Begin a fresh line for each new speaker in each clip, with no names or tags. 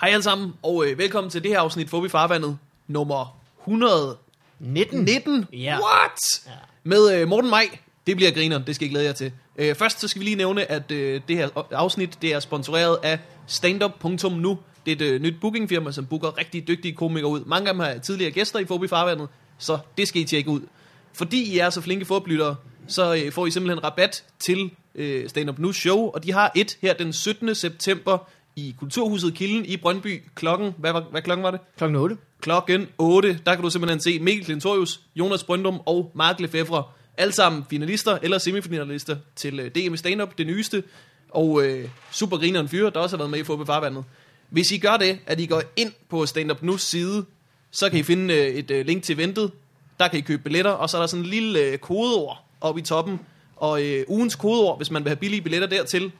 Hej alle sammen, og øh, velkommen til det her afsnit Fobi Farvandet, nummer 119.
19. Ja.
What? Med øh, Morten Maj. Det bliver grineren, det skal I glæde jer til. Øh, først så skal vi lige nævne, at øh, det her afsnit det er sponsoreret af standup.nu. Det er et øh, nyt bookingfirma, som booker rigtig dygtige komikere ud. Mange af dem har tidligere gæster i Fobi Farvandet, så det skal I tjekke ud. Fordi I er så flinke forbyttere, så øh, får I simpelthen rabat til øh, Stand Up Nu show, og de har et her den 17. september i Kulturhuset Kilden i Brøndby klokken, hvad, var, hvad klokken var det?
Klokken 8.
Klokken 8, der kan du simpelthen se Mikkel Klintorius, Jonas Brøndum og Mark Lefevre. Alle sammen finalister eller semifinalister til øh, DM i Stand-Up, det nyeste. Og øh, supergrineren fyre, der også har været med i Fodbold Farvandet. Hvis I gør det, at I går ind på Stand-Up News side, så kan I finde øh, et øh, link til ventet. Der kan I købe billetter, og så er der sådan en lille øh, kodeord oppe i toppen. Og øh, ugens kodeord, hvis man vil have billige billetter dertil,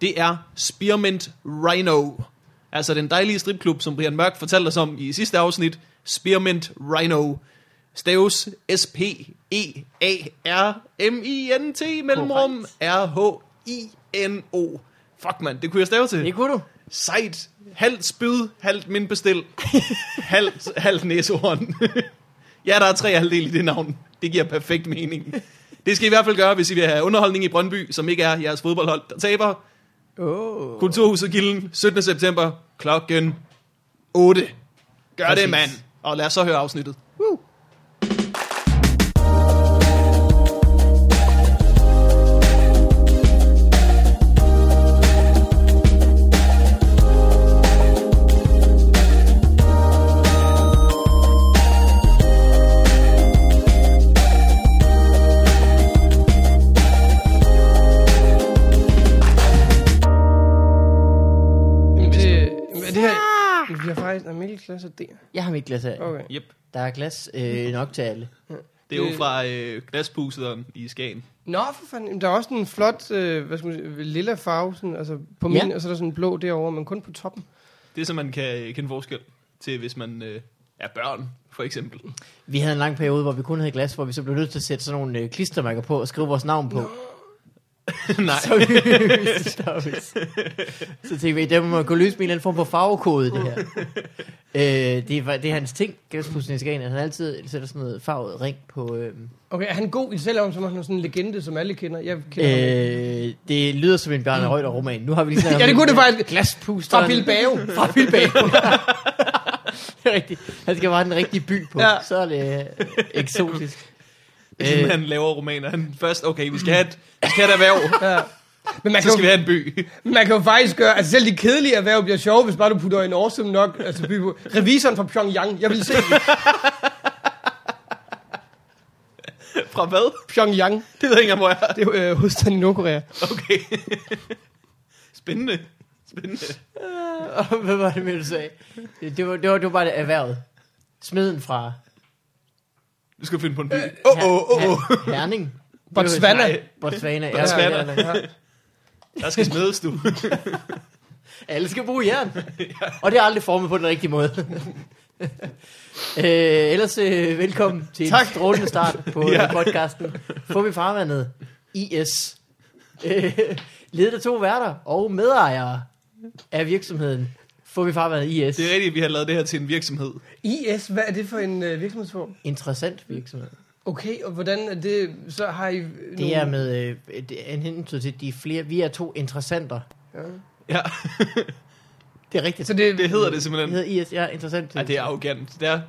det er Spearmint Rhino. Altså den dejlige stripklub, som Brian Mørk fortalte os om i sidste afsnit. Spearmint Rhino. Staves E S-P-E-A-R-M-I-N-T mellemrum R-H-I-N-O. Fuck mand, det kunne jeg stave til.
Det kunne du.
Sejt. Halvt spyd, halvt min bestil. halvt, halvt næsehorn. ja, der er tre halvdel i det navn. Det giver perfekt mening. Det skal I i hvert fald gøre, hvis I vil have underholdning i Brøndby, som ikke er jeres fodboldhold, der taber.
Oh.
Kulturhuset Gilden, 17. september, klokken 8. Gør Præcis.
Præcis.
det, mand. Og lad os så høre afsnittet.
Woo.
Jamen, det, jamen, det her... Det bliver faktisk... Er Mikkel klasse D?
Jeg har mit glas af.
Okay.
Yep.
Der er glas øh, nok til alle.
Det er jo
Øh.
fra øh, glaspuseren i Skagen.
Nå, for fanden. Jamen, der er også en flot, øh, hvad skal man sige, lilla farve, sådan, altså på min,
Ja.
og så er der sådan en blå derovre, men kun på toppen.
Det er så, man kan øh, kende forskel til, hvis man øh, er børn, for eksempel.
Vi havde en lang periode, hvor vi kun havde glas, hvor vi så blev nødt til at sætte sådan nogle øh, klistermærker på og skrive vores navn på.
Nej.
Så vi vidste stoppes. Så tænkte vi, det må kunne løse med en eller anden form for farvekode, det her. øh, det, er, det er hans ting, glaspudsen i Skagen, at han altid sætter sådan noget farvet ring på... Øh,
Okay, er han god i selvom som om han er sådan en legende, som alle kender? Jeg kender øh, ham. ikke.
øh, det lyder som en Bjarne Røgter roman. Nu har vi lige snakket om
Ja, det
en-
kunne det faktisk.
Glaspusteren.
Fra Bilbao.
Fra Bilbao. det er rigtigt. Han skal bare have den rigtige by på.
Ja.
Ja. Så er det øh, eksotisk.
Øh.
Øh.
Han laver romaner. Han først, okay, vi skal have et, vi skal have et erhverv,
Ja. Men man
så
kan,
skal vi
jo,
have en by.
man kan jo faktisk gøre, altså selv de kedelige erhverv bliver sjove, hvis bare du putter en awesome nok, altså by på. Revisoren fra Pyongyang, jeg vil se den.
Fra hvad?
Pyongyang,
Det ved jeg ikke, engang, hvor jeg er.
det er jo øh, hovedstaden i Nordkorea.
Okay. Spændende. Spændende.
Øh, Og Hvad var det, med, du sagde? Det, det, var, det, var, det var bare det erhvervet. Smeden fra
Du skal finde på en by. Øh, Åh, åh, åh, åh.
Her- Herning. Det var-
Botswana.
Nej.
Botswana. Ja,
Botswana.
ja, ja, ja.
Der skal smedes, du.
Alle skal bruge jern. Og det er aldrig formet på den rigtige måde. øh, ellers øh, velkommen til tak. en strålende start på
Ja.
ja. podcasten. Får vi farvandet. IS. Øh, ledet af to værter og medejere af virksomheden. Får vi farvandet IS.
Det er rigtigt, vi har lavet det her til en virksomhed.
IS, hvad er det for en øh, virksomhedsform?
Interessant virksomhed.
Okay, og hvordan er det, så har I... øh,
Det er med øh, det er en hensyn til, at de er flere, vi er to interessenter.
Ja.
Ja,
Det er rigtigt.
Så det,
det hedder det
Det
simpelthen.
hedder IS, ja, interessant.
Ja, det er arrogant. Det er,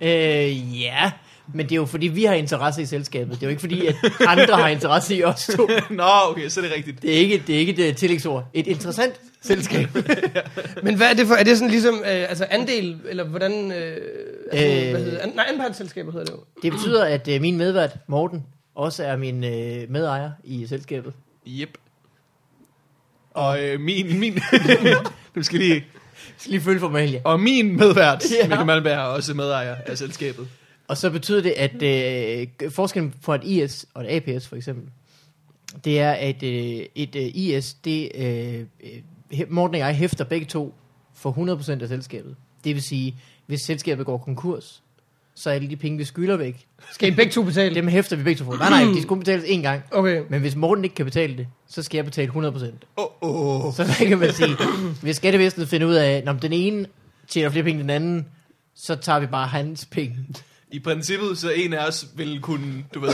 Øh, ja, men det er jo fordi, vi har interesse i selskabet. Det er jo ikke fordi, at andre har interesse i os to.
Nå, okay, så er det rigtigt.
Det er ikke, det er ikke et øh, tillægsord. Et interessant selskab.
Men hvad er det for, er det sådan ligesom, øh, altså andel, eller hvordan, øh, altså,
Øh.
hvad hedder, an, nej, anpartsselskaber hedder det jo.
Det betyder, at øh, min medvært, Morten, også er min øh, medejer i selskabet.
Yep. Og øh, min, min, du skal lige,
Skal lige følge formalia.
og min medvært,
Ja.
Mikkel Malmberg, er også medejer af selskabet.
Og så betyder det, at
Mm.
øh, forskellen på et IS og et APS for eksempel, det er, at øh, et øh, IS, det, øh, øh, Morten og jeg hæfter begge to for 100% af selskabet. Det vil sige, hvis selskabet går konkurs, så er alle de penge, vi skylder væk,
Skal I begge to betale?
dem hæfter vi begge to for. Nej, nej, de skulle betales én gang.
Okay.
Men hvis Morten ikke kan betale det, så skal jeg betale 100%.
Åh, oh, oh.
Så hvad kan man sige? Hvis skattevæsenet finder ud af, at den ene tjener flere penge end den anden, så tager vi bare hans penge.
I princippet, så en af os ville kunne, du ved,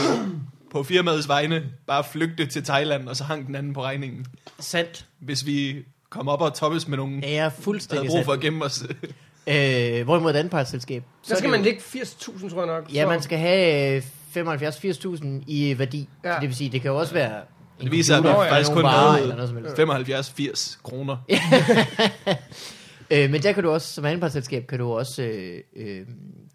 på firmaets vegne, bare flygte til Thailand, og så hang den anden på regningen.
Sandt.
Hvis vi kom op og toppes med nogen,
Ja, jeg er
der havde
fuldstændig
brug
sandt.
for at gemme os.
Øh, hvorimod et anpartsselskab.
Så skal man ligge 80.000, tror jeg nok.
Ja,
Så-
man skal have øh, 75-80.000 i værdi.
Ja.
Ja. Så det vil sige, det kan jo også være... en
Det viser, at vi
computer, eller
faktisk
nogle
kun
varer,
havde
eller noget som helst.
75-80 kroner.
Øh, men der kan du også, som anpartsselskab, kan du også øh, øh,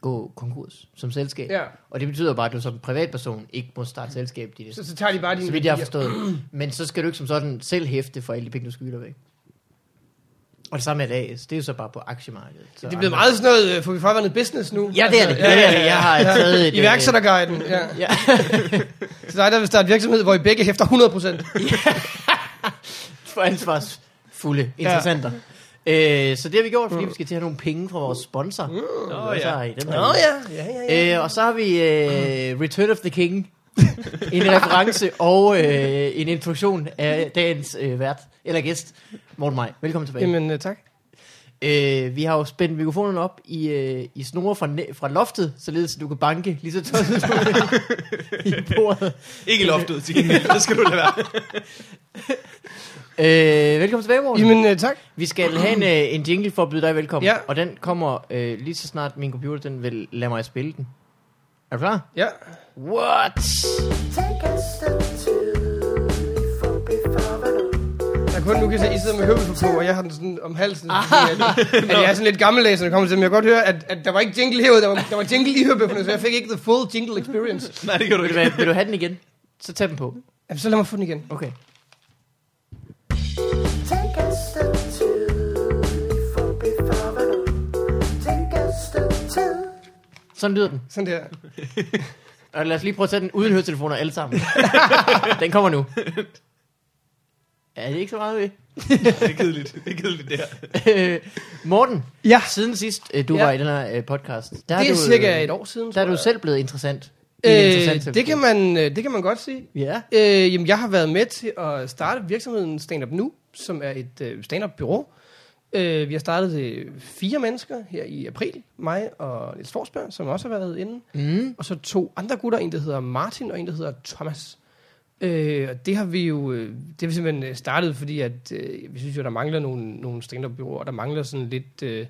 gå konkurs som selskab.
Ja.
Og det betyder bare, at du som privatperson ikke må starte selskab de
Så,
næste,
så tager de bare dine
så vidt jeg har
værdier.
forstået. Men så skal du ikke som sådan selv hæfte for alle de penge, du skylder væk. Og det samme er et AS, det er jo så bare på aktiemarkedet. Så
Det er blevet meget sådan noget, øh, får vi farvandet business nu? Altså,
Ja, det er det. Ja, det er det. Jeg har taget et... øh,
Iværksætterguiden, ja.
Ja.
Så dig, der vil starte virksomhed, hvor I begge hæfter 100%.
for ansvarsfulde interessenter. Øh, så det har vi gjort, fordi vi skal til at have nogle penge fra vores sponsor. Mm.
Nå ja.
I den
Mm. Nå
her.
ja, ja, ja. ja.
Øh, og så har vi øh, Return of the King. en reference og øh, en introduktion af dagens øh, vært, eller gæst, Morten Maj. Velkommen tilbage.
Jamen, øh, tak.
Øh, vi har jo spændt mikrofonen op i, øh, i snore fra, næ- fra loftet, således at du kan banke lige så tosset du i bordet.
Ikke i loftet til gengæld, det skal du lade være.
Øh, velkommen tilbage, Morten.
Jamen, øh, tak.
Vi skal have en, øh, en jingle for at byde dig velkommen.
Ja.
Og den kommer øh, lige så snart min computer den vil lade mig spille den. Er du klar?
Ja.
What?
Take a step two for before
Jeg kun nu kan se, I sidder med høvel på, og jeg har den sådan om halsen. Fordi, at, at jeg er sådan lidt gammeldags, når det kommer til det, men jeg kan godt høre, at, at der var ikke jingle herude, der var, der var jingle i høbøfferne, så jeg fik ikke the full jingle experience.
Nej, det kan du
Vil du,
ikke.
hvad, vil du have den igen? Så tag den på.
Jamen, så lad mig få den igen.
Okay.
Take a step two for before Take a step two.
Sådan lyder den.
Sådan der.
Og lad os lige prøve at tage den uden høretelefoner alle sammen. den kommer nu. Er det ikke så meget ved?
Det er kedeligt. Det er kedeligt, det her.
Øh, Morten,
Ja,
siden sidst øh, du
Ja.
var i den her øh, podcast, der
det
er
er
du, øh,
cirka et år siden,
Der er
tror
du
jeg.
selv blevet interessant. I
Øh,
interessant
det, kan man, øh, det kan man godt sige.
Ja.
Øh, jamen, jeg har været med til at starte virksomheden Stand Up Nu, som er et øh, stand-up-bureau. Øh, vi har startet det fire mennesker her i april. Mig og Niels Forsberg, som også har været inde.
Mm.
Og så to andre gutter, en der hedder Martin, og en der hedder Thomas. Øh, og det har vi jo øh, det har vi simpelthen øh, startet, fordi at, øh, vi synes jo, der mangler nogle, nogle stand-up-byråer. Der mangler sådan lidt... Øh,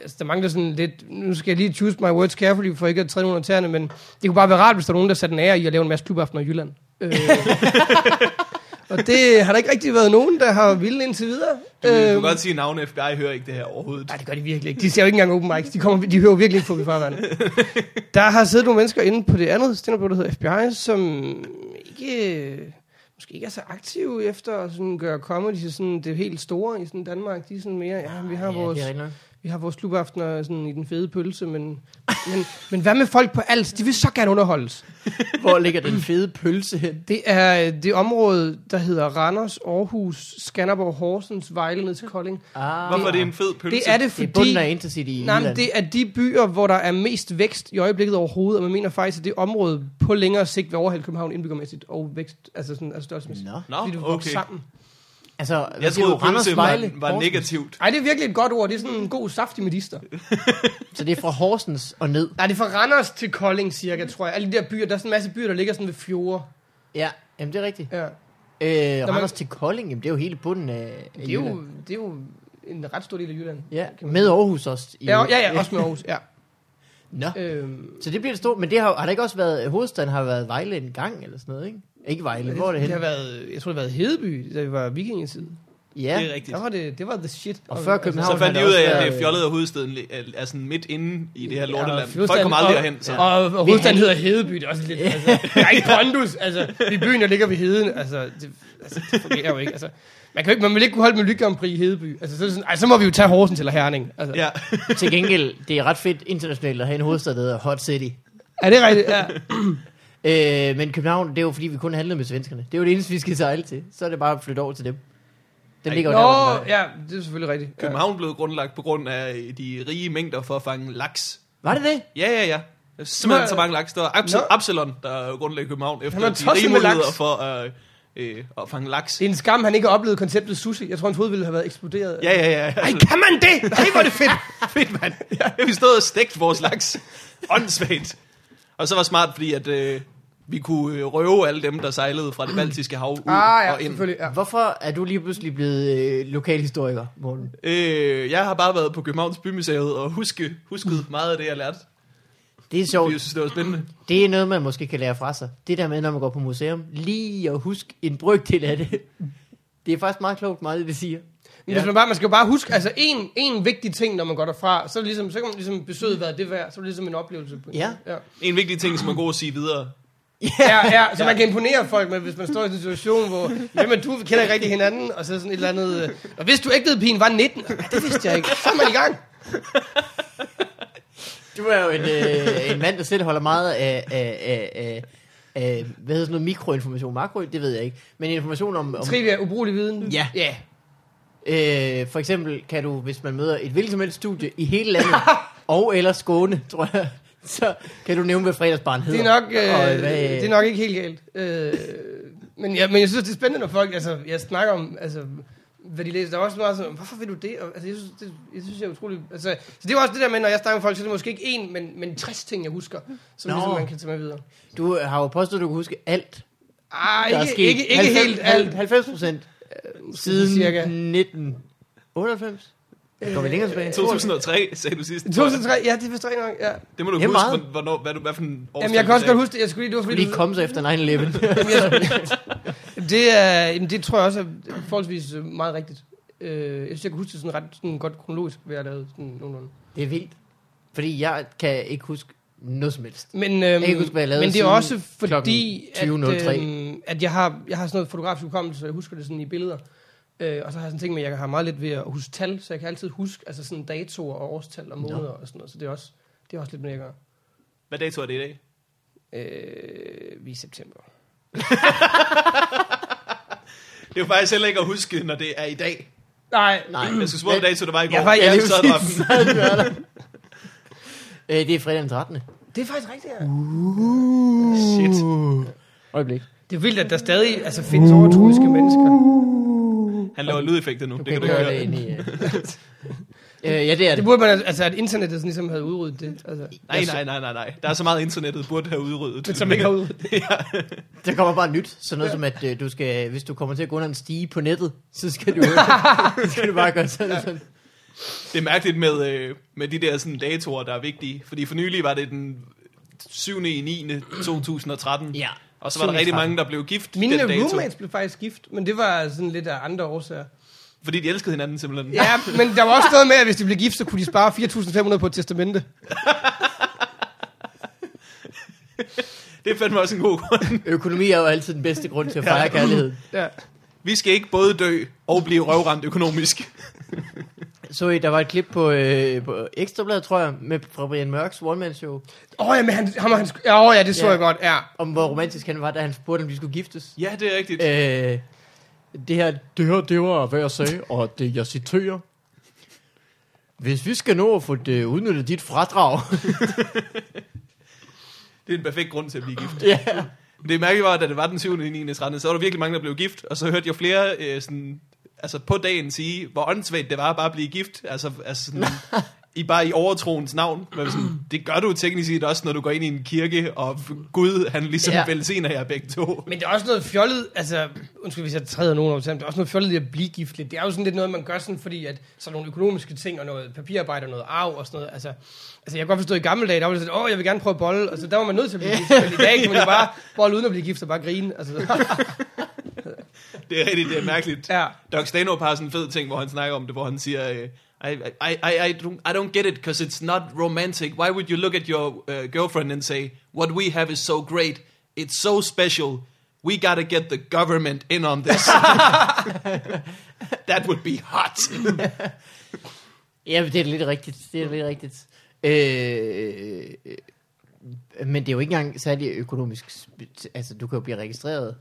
altså, der mangler sådan lidt... Nu skal jeg lige choose my words carefully, for ikke at træde nogen af tæerne, men det kunne bare være rart, hvis der var nogen, der satte en ære i at lave en masse klubaftener i Jylland. Øh, og det har der ikke rigtig været nogen, der har ville indtil videre.
Du, du kan
Øhm,
godt sige, at navnet FBI hører ikke det her overhovedet.
Nej, det gør de virkelig ikke. De ser jo ikke engang open mics. De, kommer, de hører jo virkelig ikke på, vi farvand. Der har siddet nogle mennesker inde på det andet stand der hedder FBI, som ikke, måske ikke er så aktive efter at sådan gøre comedy til sådan det helt store i sådan Danmark. De er sådan mere, ja, vi har
Ah, ja,
vores,
Det er rigtig nok.
vi har vores klubaftener sådan i den fede pølse, men, men, men hvad med folk på alt? De vil så gerne underholdes.
Hvor ligger den fede pølse hen?
Det er øh, det område, der hedder Randers, Aarhus, Skanderborg, Horsens, Vejle ned til Kolding.
Ah,
Hvorfor er det en fed pølse?
Det er det,
Fordi,
fordi...
I bunden af Intercity i
Nej, men
Jylland.
det er de byer, hvor der er mest vækst i øjeblikket overhovedet, og man mener faktisk, at det område på længere sigt vil overhælde København indbyggermæssigt og vækst, altså sådan altså størrelsesmæssigt.
Nå.
Nå,
Fordi det okay.
okay.
sammen.
Altså, hvad
Jeg
siger
troede,
du, Randers
pølse
Vejle,
var, var
Horsens?
negativt.
Ej, det er virkelig et godt ord. Det er sådan en god saftig medister.
Så det er fra Horsens og ned.
Nej, det er fra Randers til Kolding cirka, tror jeg. Alle de der byer, der er sådan en masse byer, der ligger sådan ved fjorde.
Ja, jamen det er rigtigt.
Ja.
Øh,
man-
Randers til Kolding, jamen det er jo hele bunden af af
Det, er
Jylland.
jo, det er jo en ret stor del af Jylland.
Ja, med Aarhus også. I,
Ja, og- ja, ja, også med Aarhus. Ja.
Nå.
Øhm,
Så det bliver det stort, men det har, har det ikke også været, hovedstaden har været Vejle en gang eller sådan noget, ikke? Ikke Vejle, hvor er det
det har
henne?
været, jeg tror, det har været Hedeby, da vi var vikingetid.
Det er
Ja,
rigtigt.
Der var det, det var the shit. altså,
Og før København-
Så fandt
har
de ud
der
af,
også
at
været-
det er
øh,
fjollet af hovedstaden li- er sådan midt inde i det her lorteland. Folk
hovedstaden-
kommer aldrig derhen, så.
Og, og, og
Vi
hovedstaden
handler-
hedder Hedeby, det er også lidt... Altså, der er ikke pondus, altså. I byen, der ligger ved heden, altså. Det, altså, det fungerer jo ikke, altså. Man, kan jo ikke, man vil ikke kunne holde med Lykkeompri i Hedeby. Altså, så, er det sådan, ej, så må vi jo tage Horsens eller Herning. Altså. Ja.
Ja,
til gengæld, det er ret fedt internationalt at have en hovedstad, der hedder Hot City.
Er det rigtigt? Ja.
Øh, men København, det er jo fordi, vi kun handlede med svenskerne. Det er jo det eneste, vi skal sejle til. Så er det bare at flytte over til dem. Den
Ej,
ligger jo der, hvor den
Nå,
var.
ja, det er selvfølgelig rigtigt. Ja.
øh, København blev grundlagt på grund af de rige mængder for at fange laks.
Var det det?
Ja, ja, ja. Der er Simpelthen
Nå.
så mange laks. Der var Abs-
Nå.
Absalon, der grundlagde København, efter
var
de
tosset
rige
med
muligheder
laks.
for øh, øh, at fange laks.
Det er en skam, han ikke har oplevet konceptet sushi. Jeg tror, hans hoved ville have været eksploderet.
Ja, ja, ja.
Ej, kan man det? Nej, hvor er det fedt.
Fedt, mand. Ja, vi stod og stegte vores laks. Åndssvagt. Og så var smart, fordi at, øh, vi kunne øh, røve alle dem, der sejlede fra det baltiske hav ud
Mm. ah, ja,
og ind.
selvfølgelig. Ja.
Hvorfor er du lige pludselig blevet øh, lokalhistoriker, Morten?
Øh, jeg har bare været på Københavns Bymuseet og huske,
Mm.
husket meget af det, jeg lærte.
Det er
Fordi
sjovt.
jeg synes, det var spændende.
Det er noget, man måske kan lære fra sig. Det der med, når man går på museum, lige at huske en brygdel af det. Det er faktisk meget klogt, meget af det, de siger.
Men Hvis man, bare, man skal jo bare huske, altså en, en vigtig ting, når man går derfra, så, er det ligesom, så kan man ligesom besøge, hvad det værd, så er det ligesom en oplevelse. På en
Ja.
måde. ja.
En vigtig ting, som er god at sige videre.
Ja, ja, så man kan imponere folk med, hvis man står i en situation, hvor hvem er du, vi kender ikke rigtig hinanden, og så sådan et eller andet, øh, og hvis du ægtedepigen var 19, "Ah, det vidste jeg ikke, så er man i gang.
Du er jo en, øh, en mand, der selv holder meget af, af, af, af, af hvad hedder sådan noget, mikroinformation, makro, det ved jeg ikke. Men information om, om
Trivia, ubrugelig viden.
Ja.
ja.
øh, for eksempel kan du, hvis man møder et hvilket som helst studie i hele landet, og eller Skåne, tror jeg, så kan du nævne, hvad fredagsbarn
Det
hedder.
er nok, øh,
og, hvad,
det er nok ikke helt galt. Øh, men, ja, men jeg synes, det er spændende, når folk, altså, jeg snakker om, altså, hvad de læser. Der er også meget sådan, hvorfor vil du det? Og, altså, jeg synes, det, jeg synes, jeg er utrolig... Altså, så det er jo også det der med, når jeg snakker med folk, så er det måske ikke én, men, men 60 ting, jeg husker, som
Nå.
ligesom, man kan tage med videre.
Du øh, har jo påstået, at du kan huske alt,
Ah,
der er
ikke,
sket.
ikke, ikke helt alt.
90 procent siden
cirka.
1998. Går vi længere
Øh,
tilbage?
2003, sagde du sidst.
2003, ja, det forstår jeg nok, ja.
Det må du
Ja,
huske,
meget.
hvor- hvornår, hvad, du, hvad for en
Jamen, jeg kan også
årsdag
godt
du
huske det. Jeg skulle lige, det var
Du
fordi,
lige komme så efter 9-11.
Det, er, jamen det tror jeg også er forholdsvis øh, meget rigtigt. Øh, jeg synes, jeg kan huske det sådan ret sådan godt kronologisk, hvad jeg lavede sådan nogenlunde.
det er vildt. Fordi jeg kan ikke huske noget som helst.
Men, øhm, jeg
kan ikke huske, hvad jeg lavede
men det er
siden
også fordi, at,
klokken 20.03.
øhm, at jeg, har, jeg har sådan noget fotografisk hukommelse, så jeg husker det sådan i billeder. Øh, og så har jeg sådan ting med, at jeg har meget lidt ved at huske tal, så jeg kan altid huske altså sådan datoer og årstal og måneder og sådan noget. Så det er også, det er også lidt mere, jeg gør.
Hvad dato er det i dag?
Øh, vi er i september.
Det er jo faktisk heller ikke at huske, når det er i dag.
Nej,
Nej.
Jeg skal spørge, hvad dato det var i går.
Jeg var i-
ja,
jeg
det
lige
sad
præcis.
bare sådan.
Øh, det er fredag den 13.
det er faktisk rigtigt, ja.
Shit.
Uh. Øjeblik.
Det er vildt, at der stadig altså, findes overtroiske mennesker.
Han laver lydeffekter nu.
Du
Det
kan
kan du
ikke
ikke
høre det
høre.
ind i... øh. øh, ja, det er
Det
det.
burde man, altså- altså at internettet sådan ligesom havde udryddet det. Altså,
Nej, nej, nej, nej, nej. Der er så meget internettet burde have udryddet.
Men som ikke har udryddet det.
Der kommer bare nyt. Sådan noget som, at øh, du skal, hvis du kommer til at gå under en stige på nettet, så skal du, så skal du bare gøre sådan. sådan.
Det er mærkeligt med, øh, med de der sådan, datoer, der er vigtige. Fordi for nylig var det den 7. i 9. 2013.
Ja.
Og så var der rigtig mange, der blev gift
Mine
den dato.
roommates blev faktisk gift, men det var sådan lidt af andre årsager.
Fordi de elskede hinanden simpelthen.
Ja, men der var også noget med, at hvis de blev gift, så kunne de spare 4.500 på et testamente.
Det fandt mig også en god grund.
Økonomi er jo altid den bedste grund til at fejre kærlighed.
Ja.
Vi skal ikke både dø og blive røvramt økonomisk.
Så I, der var et klip på, øh, på Ekstrabladet, tror jeg, med, fra Brian Mørks One Show,
Åh oh, ja, men han, ham og han, sk- ja, åh, ja, det så
Ja.
jeg godt, ja.
om hvor romantisk han var, da han spurgte, om de skulle giftes.
Ja, det er rigtigt.
Øh, det her, det her, det var, hvad jeg sagde, og det, jeg citerer. Hvis vi skal nå at få det, udnyttet dit fradrag.
Det er en perfekt grund til at blive gift.
ja.
Det mærkelige var, at da det var den 7. i 9. 13. så var der virkelig mange, der blev gift. Og så hørte jeg flere øh, sådan, altså på dagen sige, hvor åndssvagt det var at bare blive gift. Altså, altså sådan, i bare i overtroens navn. Men sådan, det gør du teknisk set også, når du går ind i en kirke, og Gud, han ligesom
Ja.
ja. velsigner jer begge to.
Men det er også noget fjollet, altså, undskyld hvis jeg træder nogen over sammen, det er også noget fjollet i at blive gift lidt. Det er jo sådan lidt noget, man gør sådan, fordi at sådan nogle økonomiske ting og noget papirarbejde og noget arv og sådan noget, altså, altså jeg kan godt forstå, at i gamle dage, der var det sådan, åh, jeg vil gerne prøve at bolle, og så der var man nødt til at blive gift, men i dag kan man jo bare bolle uden at blive gift og bare grine, altså,
Det er rigtigt, det er mærkeligt.
ja.
Doc Stanhope har sådan en fed ting, hvor han snakker om det, hvor han siger, øh, I, I, I, I, don't, I don't get it, because it's not romantic. Why would you look at your uh, girlfriend and say, what we have is so great, it's so special, we gotta get the government in on this. That would be hot.
ja, men det er lidt rigtigt. Det er lidt rigtigt. Øh, øh, men det er jo ikke engang særlig økonomisk. sp- Altså, du kan jo blive registreret.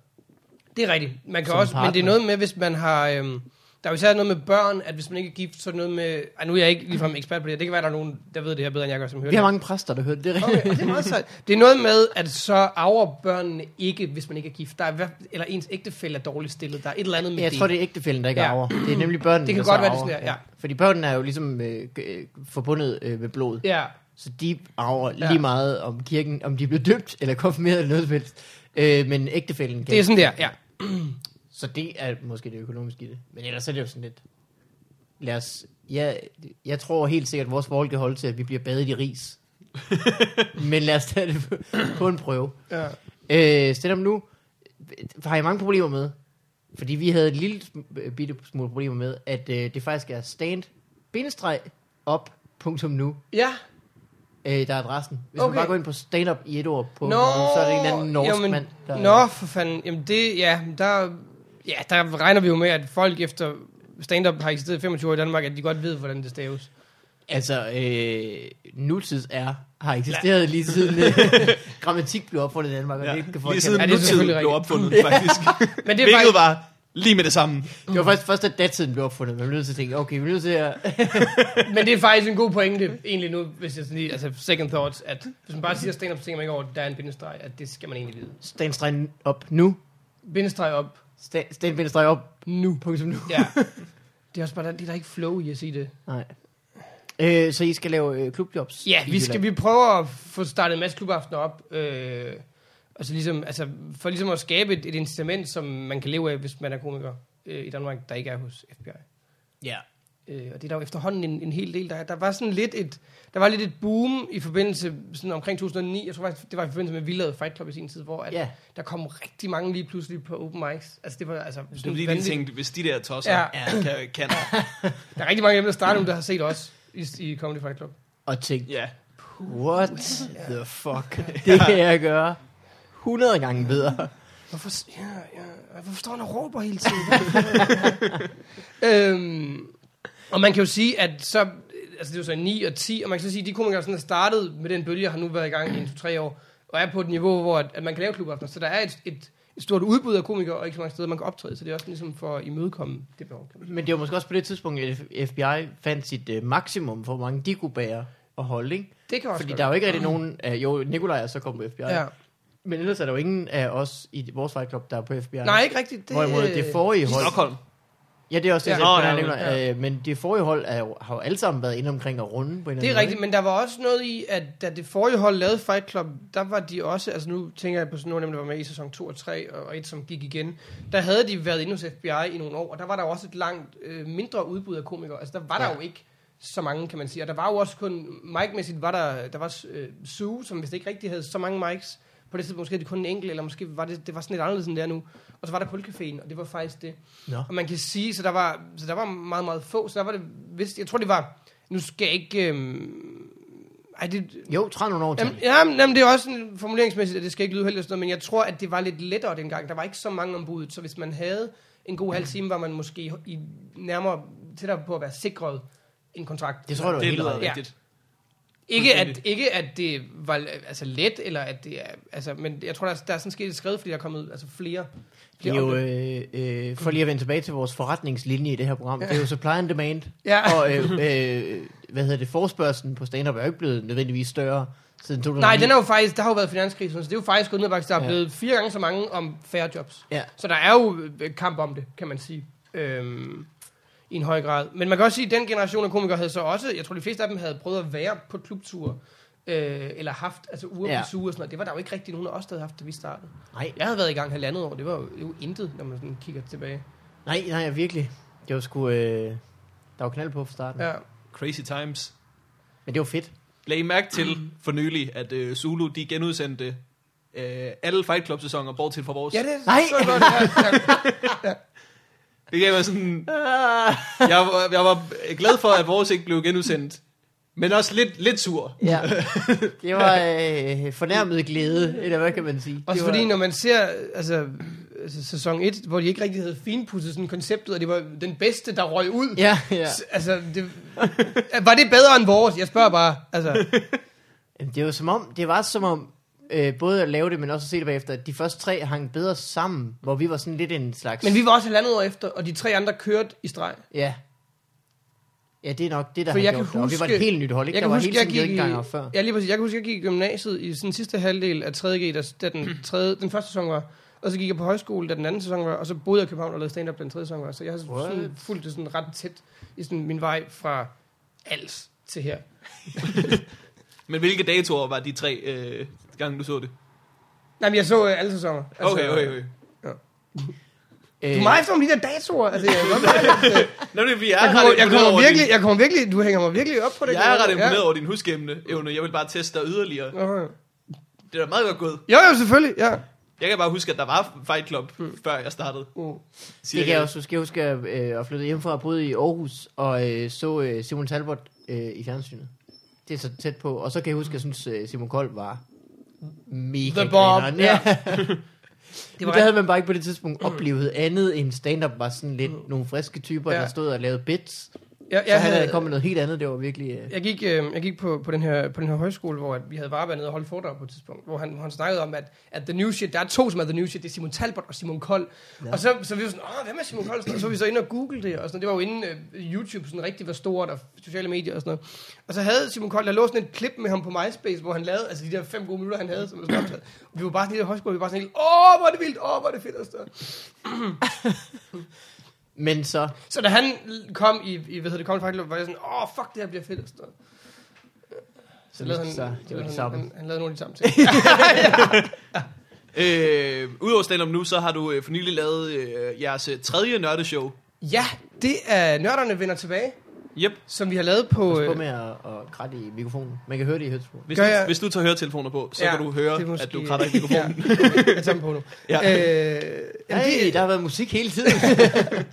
Det er rigtigt. Man kan
Som
også, men det
partner.
er noget med, hvis man har... Øhm, Der er jo især noget med børn, at hvis man ikke er gift, så er det noget med... Ej, nu er jeg ikke ligefrem ekspert på det her. Det kan være, der er nogen, der ved det her bedre, end jeg gør, som hører
Vi har
det.
mange præster, der hører det. Det er rigtigt.
Okay, og det er meget sejt. Det er noget med, at så arver børnene ikke, hvis man ikke er gift. Der er, i hvert- eller ens ægtefælle er dårligt stillet. Der er et eller andet med
Ja, jeg
det.
tror, det er ægtefælden, der ikke
Ja.
ja. arver. Det er nemlig børnene,
Det kan
der så
godt være, det er
arver.
sådan der, ja.
Fordi børnene er jo ligesom øh, g- øh, forbundet øh, med blod. Ja.
Ja,
Så de arver
Ja.
ja. lige meget om kirken, om de blev døbt eller konfirmeret eller noget som helst. Øh, men ægtefælden kan
det er sådan der, ja.
Så det er måske det økonomiske i det. Men ellers er det jo sådan lidt... Lad os... Ja, jeg tror helt sikkert, at vores forhold kan holde til, at vi bliver badet i ris. Men lad os tage det på- på en prøve.
ja.
Øh, stand up nu øh, har jeg mange problemer med. Fordi vi havde et lille sm- øh, bitte smule problemer med, at øh, det faktisk er stand bindestreg op punktum nu,
Ja,
øh, der er adressen. Hvis
Okay.
man bare går ind på stand up i et ord på,
Nå,
så er det en eller anden norsk
jamen,
mand, der...
Nå, for fanden. Jamen det, ja, der, ja, der regner vi jo med, at folk efter stand-up har eksisteret i 25 år i Danmark, at de godt ved, hvordan det staves.
Altså, øh, nutids er har eksisteret lige siden øh, grammatik blev opfundet i Danmark, og ja.
Ja.
det kan folk
Lige siden
Ja,
ja,
det er
nutid
selvfølgelig
blev
rigtigt.
opfundet, faktisk.
Men det er
Hvilket
faktisk,
var lige med det samme.
Det var faktisk først, at datiden blev opfundet, man blev nødt til at tænke, okay, vi er nødt til at...
men det er faktisk en god pointe, egentlig nu, hvis jeg sådan lige, altså second thoughts, at hvis man bare siger stand-up, så tænker man ikke over, at der er en bindestreg, at det skal man egentlig vide.
Stand streg op nu.
Bindestreg op.
Stand, stand bindestreg op nu. Punktum nu.
Ja. Det er også bare, der, det er der ikke flow i at sige det.
Nej. Øh, så I skal lave øh, klubjobs?
Ja,
i
vi, skal,
Jylland.
vi prøver at få startet en masse klubaftener op, øh, og så ligesom, altså, for ligesom at skabe et, et incitament, som man kan leve af, hvis man er komiker øh, i Danmark, der ikke er hos FBI.
Ja.
Øh, og det er der jo efterhånden en, en hel del, der er. Der var sådan lidt et, der var lidt et boom i forbindelse sådan omkring 2009, jeg tror faktisk, det var i forbindelse med Vildad Fight Club i sin tid, hvor at
Ja.
der kom rigtig mange lige pludselig på open mics. Altså det var altså...
Det er fordi, de tænkte, hvis de der tosser
Ja.
ja. kan, kan
Der er rigtig mange af dem, der starter nu, der har set os i, i Comedy Fight Club.
Og tænkte,
ja.
what the fuck? Det kan jeg gøre 100 gange bedre.
Hvorfor, s- ja, ja, hvorfor står han og råber hele tiden? Hvad- øhm, og man kan jo sige, at så, altså det er jo så 9 og 10, og man kan så sige, at de komikere, der sådan er startet med den bølge, har nu været i gang i 2-3 år, og er på et niveau, hvor at, at man kan lave klubaftener. Så der er et, et, et stort udbud af komikere, og ikke så mange steder, man kan optræde, så det er også ligesom for at imødekomme det behov. kan man
Men det var måske også på det tidspunkt, at F- FBI fandt sit øh, maksimum for, hvor mange de kunne bære og holde, ikke?
sige. Det kan også
Fordi
godt
der er jo ikke rigtig nogen... Uh, jo, Nikolaj er så kommet på FBI.
være.
Ja. Men ellers er der jo ingen af os i vores Fight Club, der er på FBI.
ja. Nej, ikke rigtigt. Det,
Hvorimod det forrige hold...
Stockholm.
Ja, det er også det,
Ja.
ja.
Nå, ja,
jeg Nikolaj. Ja. Uh, men det forrige hold er jo, har jo alle sammen været inde omkring at runde på en eller anden
Det er
måde,
rigtigt, men der var også noget i, at da det forrige hold lavede Fight Club, der var de også, altså nu tænker jeg på sådan nogle af dem, der var med i sæson 2 og 3, og, og et som gik igen, der havde de været inde hos FBI i nogle år, og der var der jo også et langt øh, mindre udbud af komikere, altså der var ja. der
Ja.
jo ikke så mange, kan man sige, og der var jo også kun, mic-mæssigt var der, der var øh, Sue, som hvis ikke rigtig havde så mange mics, på det tidspunkt måske havde de kun en enkelt, eller måske var det, det var sådan lidt anderledes end det er nu, og så var der Kulcaféen, og det var faktisk det.
Nå.
Og man kan sige, så der var, så der var meget, meget få, så der var det vist, jeg tror det var, nu skal jeg ikke, øhm, ej det,
ikke? Jo, 30 år til.
jamen, jamen, jamen, det er også sådan formuleringsmæssigt, at det skal ikke lyde heldigt og sådan noget, men jeg tror, at det var lidt lettere dengang, der var ikke så mange ombud, så hvis man havde en god halv time, var man måske i, nærmere tættere på at være sikret en kontrakt.
Det tror jeg, du er
Det
helt
lyder
ret. i.
rigtigt.
Ikke at,
Fuldstændig.
ikke at det var altså let, eller at det er, altså, men jeg tror, der er, der er sådan sket et skridt, fordi der er kommet altså, flere.
Det
flere
er jo,
ombud.
øh, øh, for lige at vende tilbage til vores forretningslinje i det her program, det er jo supply and demand.
Ja.
Og øh, øh, hvad hedder det, forspørgselen på stand-up er jo ikke blevet nødvendigvis større siden 2009.
Nej, den er jo faktisk, der har jo været finanskrisen, så det er jo faktisk gået ned ad bakke, så der er
Mm-hmm. Ja.
blevet fire gange så mange om færre jobs.
Ja.
Så der er jo øh, kamp om det, kan man sige. Øhm, I en høj grad. Men man kan også sige, at den generation af komikere havde så også, jeg tror de fleste af dem havde prøvet at være på klubture, øh, eller haft altså uger ja.
Ja.
på suge og sådan noget. Det var der jo ikke rigtig nogen af os, der havde haft, da vi startede.
Nej,
Jeg havde været i gang halvandet år, det var jo, jo intet, når man sådan kigger tilbage.
nej, nej, virkelig. Det var sgu... Øh, der var knald på fra starten. Ja.
Ja.
Crazy times.
Men det var fedt.
Lad I mærke til for nylig, at øh, Zulu de genudsendte øh, alle Fight Club-sæsoner, bortset fra vores.
Ja, det
Nej.
så godt. Ja, ja.
Det gav mig sådan...
Ah.
Jeg, var- jeg var øh, glad for, at vores ikke blev genudsendt. Men også lidt, lidt sur.
Ja. Det var øh, fornærmet glæde, eller hvad kan man sige?
Også
det var,
fordi, når man ser altså, altså, sæson 1, hvor de ikke rigtig havde finpudset sådan konceptet, og det var den bedste, der røg ud.
Ja, ja.
S- Altså, det, var det bedre end vores? Jeg spørger bare. Altså,
Jamen, Det var som om, det var som om, øh, både at lave det, men også at se det bagefter, at de første tre hang bedre sammen, hvor vi var sådan lidt en slags...
Men vi var også halvandet år efter, og de tre andre kørte i streg.
Ja. Ja, det er nok det, der
For
har
jeg
gjort
kan
det. Og vi var
huske-
et helt nyt hold, ikke?
Jeg
der
kan,
var
huske,
hele
jeg
tiden
gik i,
genganger før.
ja, lige præcis. jeg kan huske, jeg gik i gymnasiet i den sidste halvdel af 3.G, da, da den, tredje, den første sæson var, og så gik jeg på højskole, da den anden sæson var, og så boede jeg i København og lavede stand-up, da den tredje sæson var. Så jeg har sådan,
What?
fulgt det sådan ret tæt i sådan min vej fra Als til her.
Men hvilke datoer var de tre øh, gange, du så det?
Nej, men jeg så øh, alle sæsoner.
Okay, okay, okay. Øh,
Du er meget efter om de der datoer. Altså, jeg, jeg, jeg,
Nå, det er, fordi jeg, er ret
jeg, kommer, jeg,
imponeret
kommer
over
virkelig, jeg kommer virkelig, du hænger mig virkelig op på det.
Din, jeg er ret imponeret over din huskeemne evne. Jeg vil bare teste dig yderligere.
Ja.
Det er da meget godt gået.
Jo, jo, selvfølgelig, ja.
Jeg kan bare huske, at der var Fight Club,
Hmm.
før jeg startede.
Mm.
Det kan jeg også huske. Jeg husker øh, at flytte hjemmefra og boede i Aarhus, og øh, så øh, Simon Talbot øh, i fjernsynet. Det er så tæt på. Og så kan jeg huske, at jeg synes, øh, Simon Kold var mega
The Bomb,
grineren.
ja.
det var Mm. der havde man bare ikke på det tidspunkt oplevet andet end stand-up var sådan lidt nogle friske typer,
Ja.
Mm. ja. der stod og lavede bits.
Jeg,
Så han havde kommet med noget helt andet, det var virkelig... Øh,
Jeg gik, øh, jeg gik på, på, den her, på den her højskole, hvor at vi havde Varberg nede og holdt foredrag på et tidspunkt, hvor han, hvor han snakkede om, at, at the new shit, der er to, som er the new shit, det er Simon Talbot og Simon Kold. Ja. Og så, så vi var sådan, åh, hvem er Simon Kold? Og sådan noget. så var vi så inde og google det, og sådan, noget. det var jo inden øh, YouTube sådan rigtig var stort, og sociale medier og sådan noget. Og så havde Simon Kold, der lå sådan et klip med ham på MySpace, hvor han lavede, altså de der fem gode minutter, han havde, som var sådan optaget. Og vi var bare sådan i der højskole, og vi var bare sådan helt, åh, hvor er det vildt, åh, hvor er det fedt og sådan noget.
men så...
Så da han kom i, i hvad hedder det, kom til Fight Club, var jeg sådan, åh, fuck, det her bliver fedt. og Sådan noget. Så
Så
lavede han,
viste det sig, det var det
han,
samme.
Han, han lavede nogle af de samme ting.
Øh, Udover stand-up nu, så har du øh, for nylig lavet øh, jeres øh, tredje nørdeshow.
ja, det er Nørderne vender tilbage,
Yep.
som vi har lavet på...
Pas på
øh,
med at, at kratte i mikrofonen. Man kan høre det i højtskolen.
Hvis,
Gør
du,
jeg-
hvis du tager høretelefoner på, så
ja,
kan du
det er
høre,
måske-
at du kratter i mikrofonen.
ja, jeg tager dem på nu.
Ja.
Øh, jamen,
Hey,
det,
der har været musik hele tiden.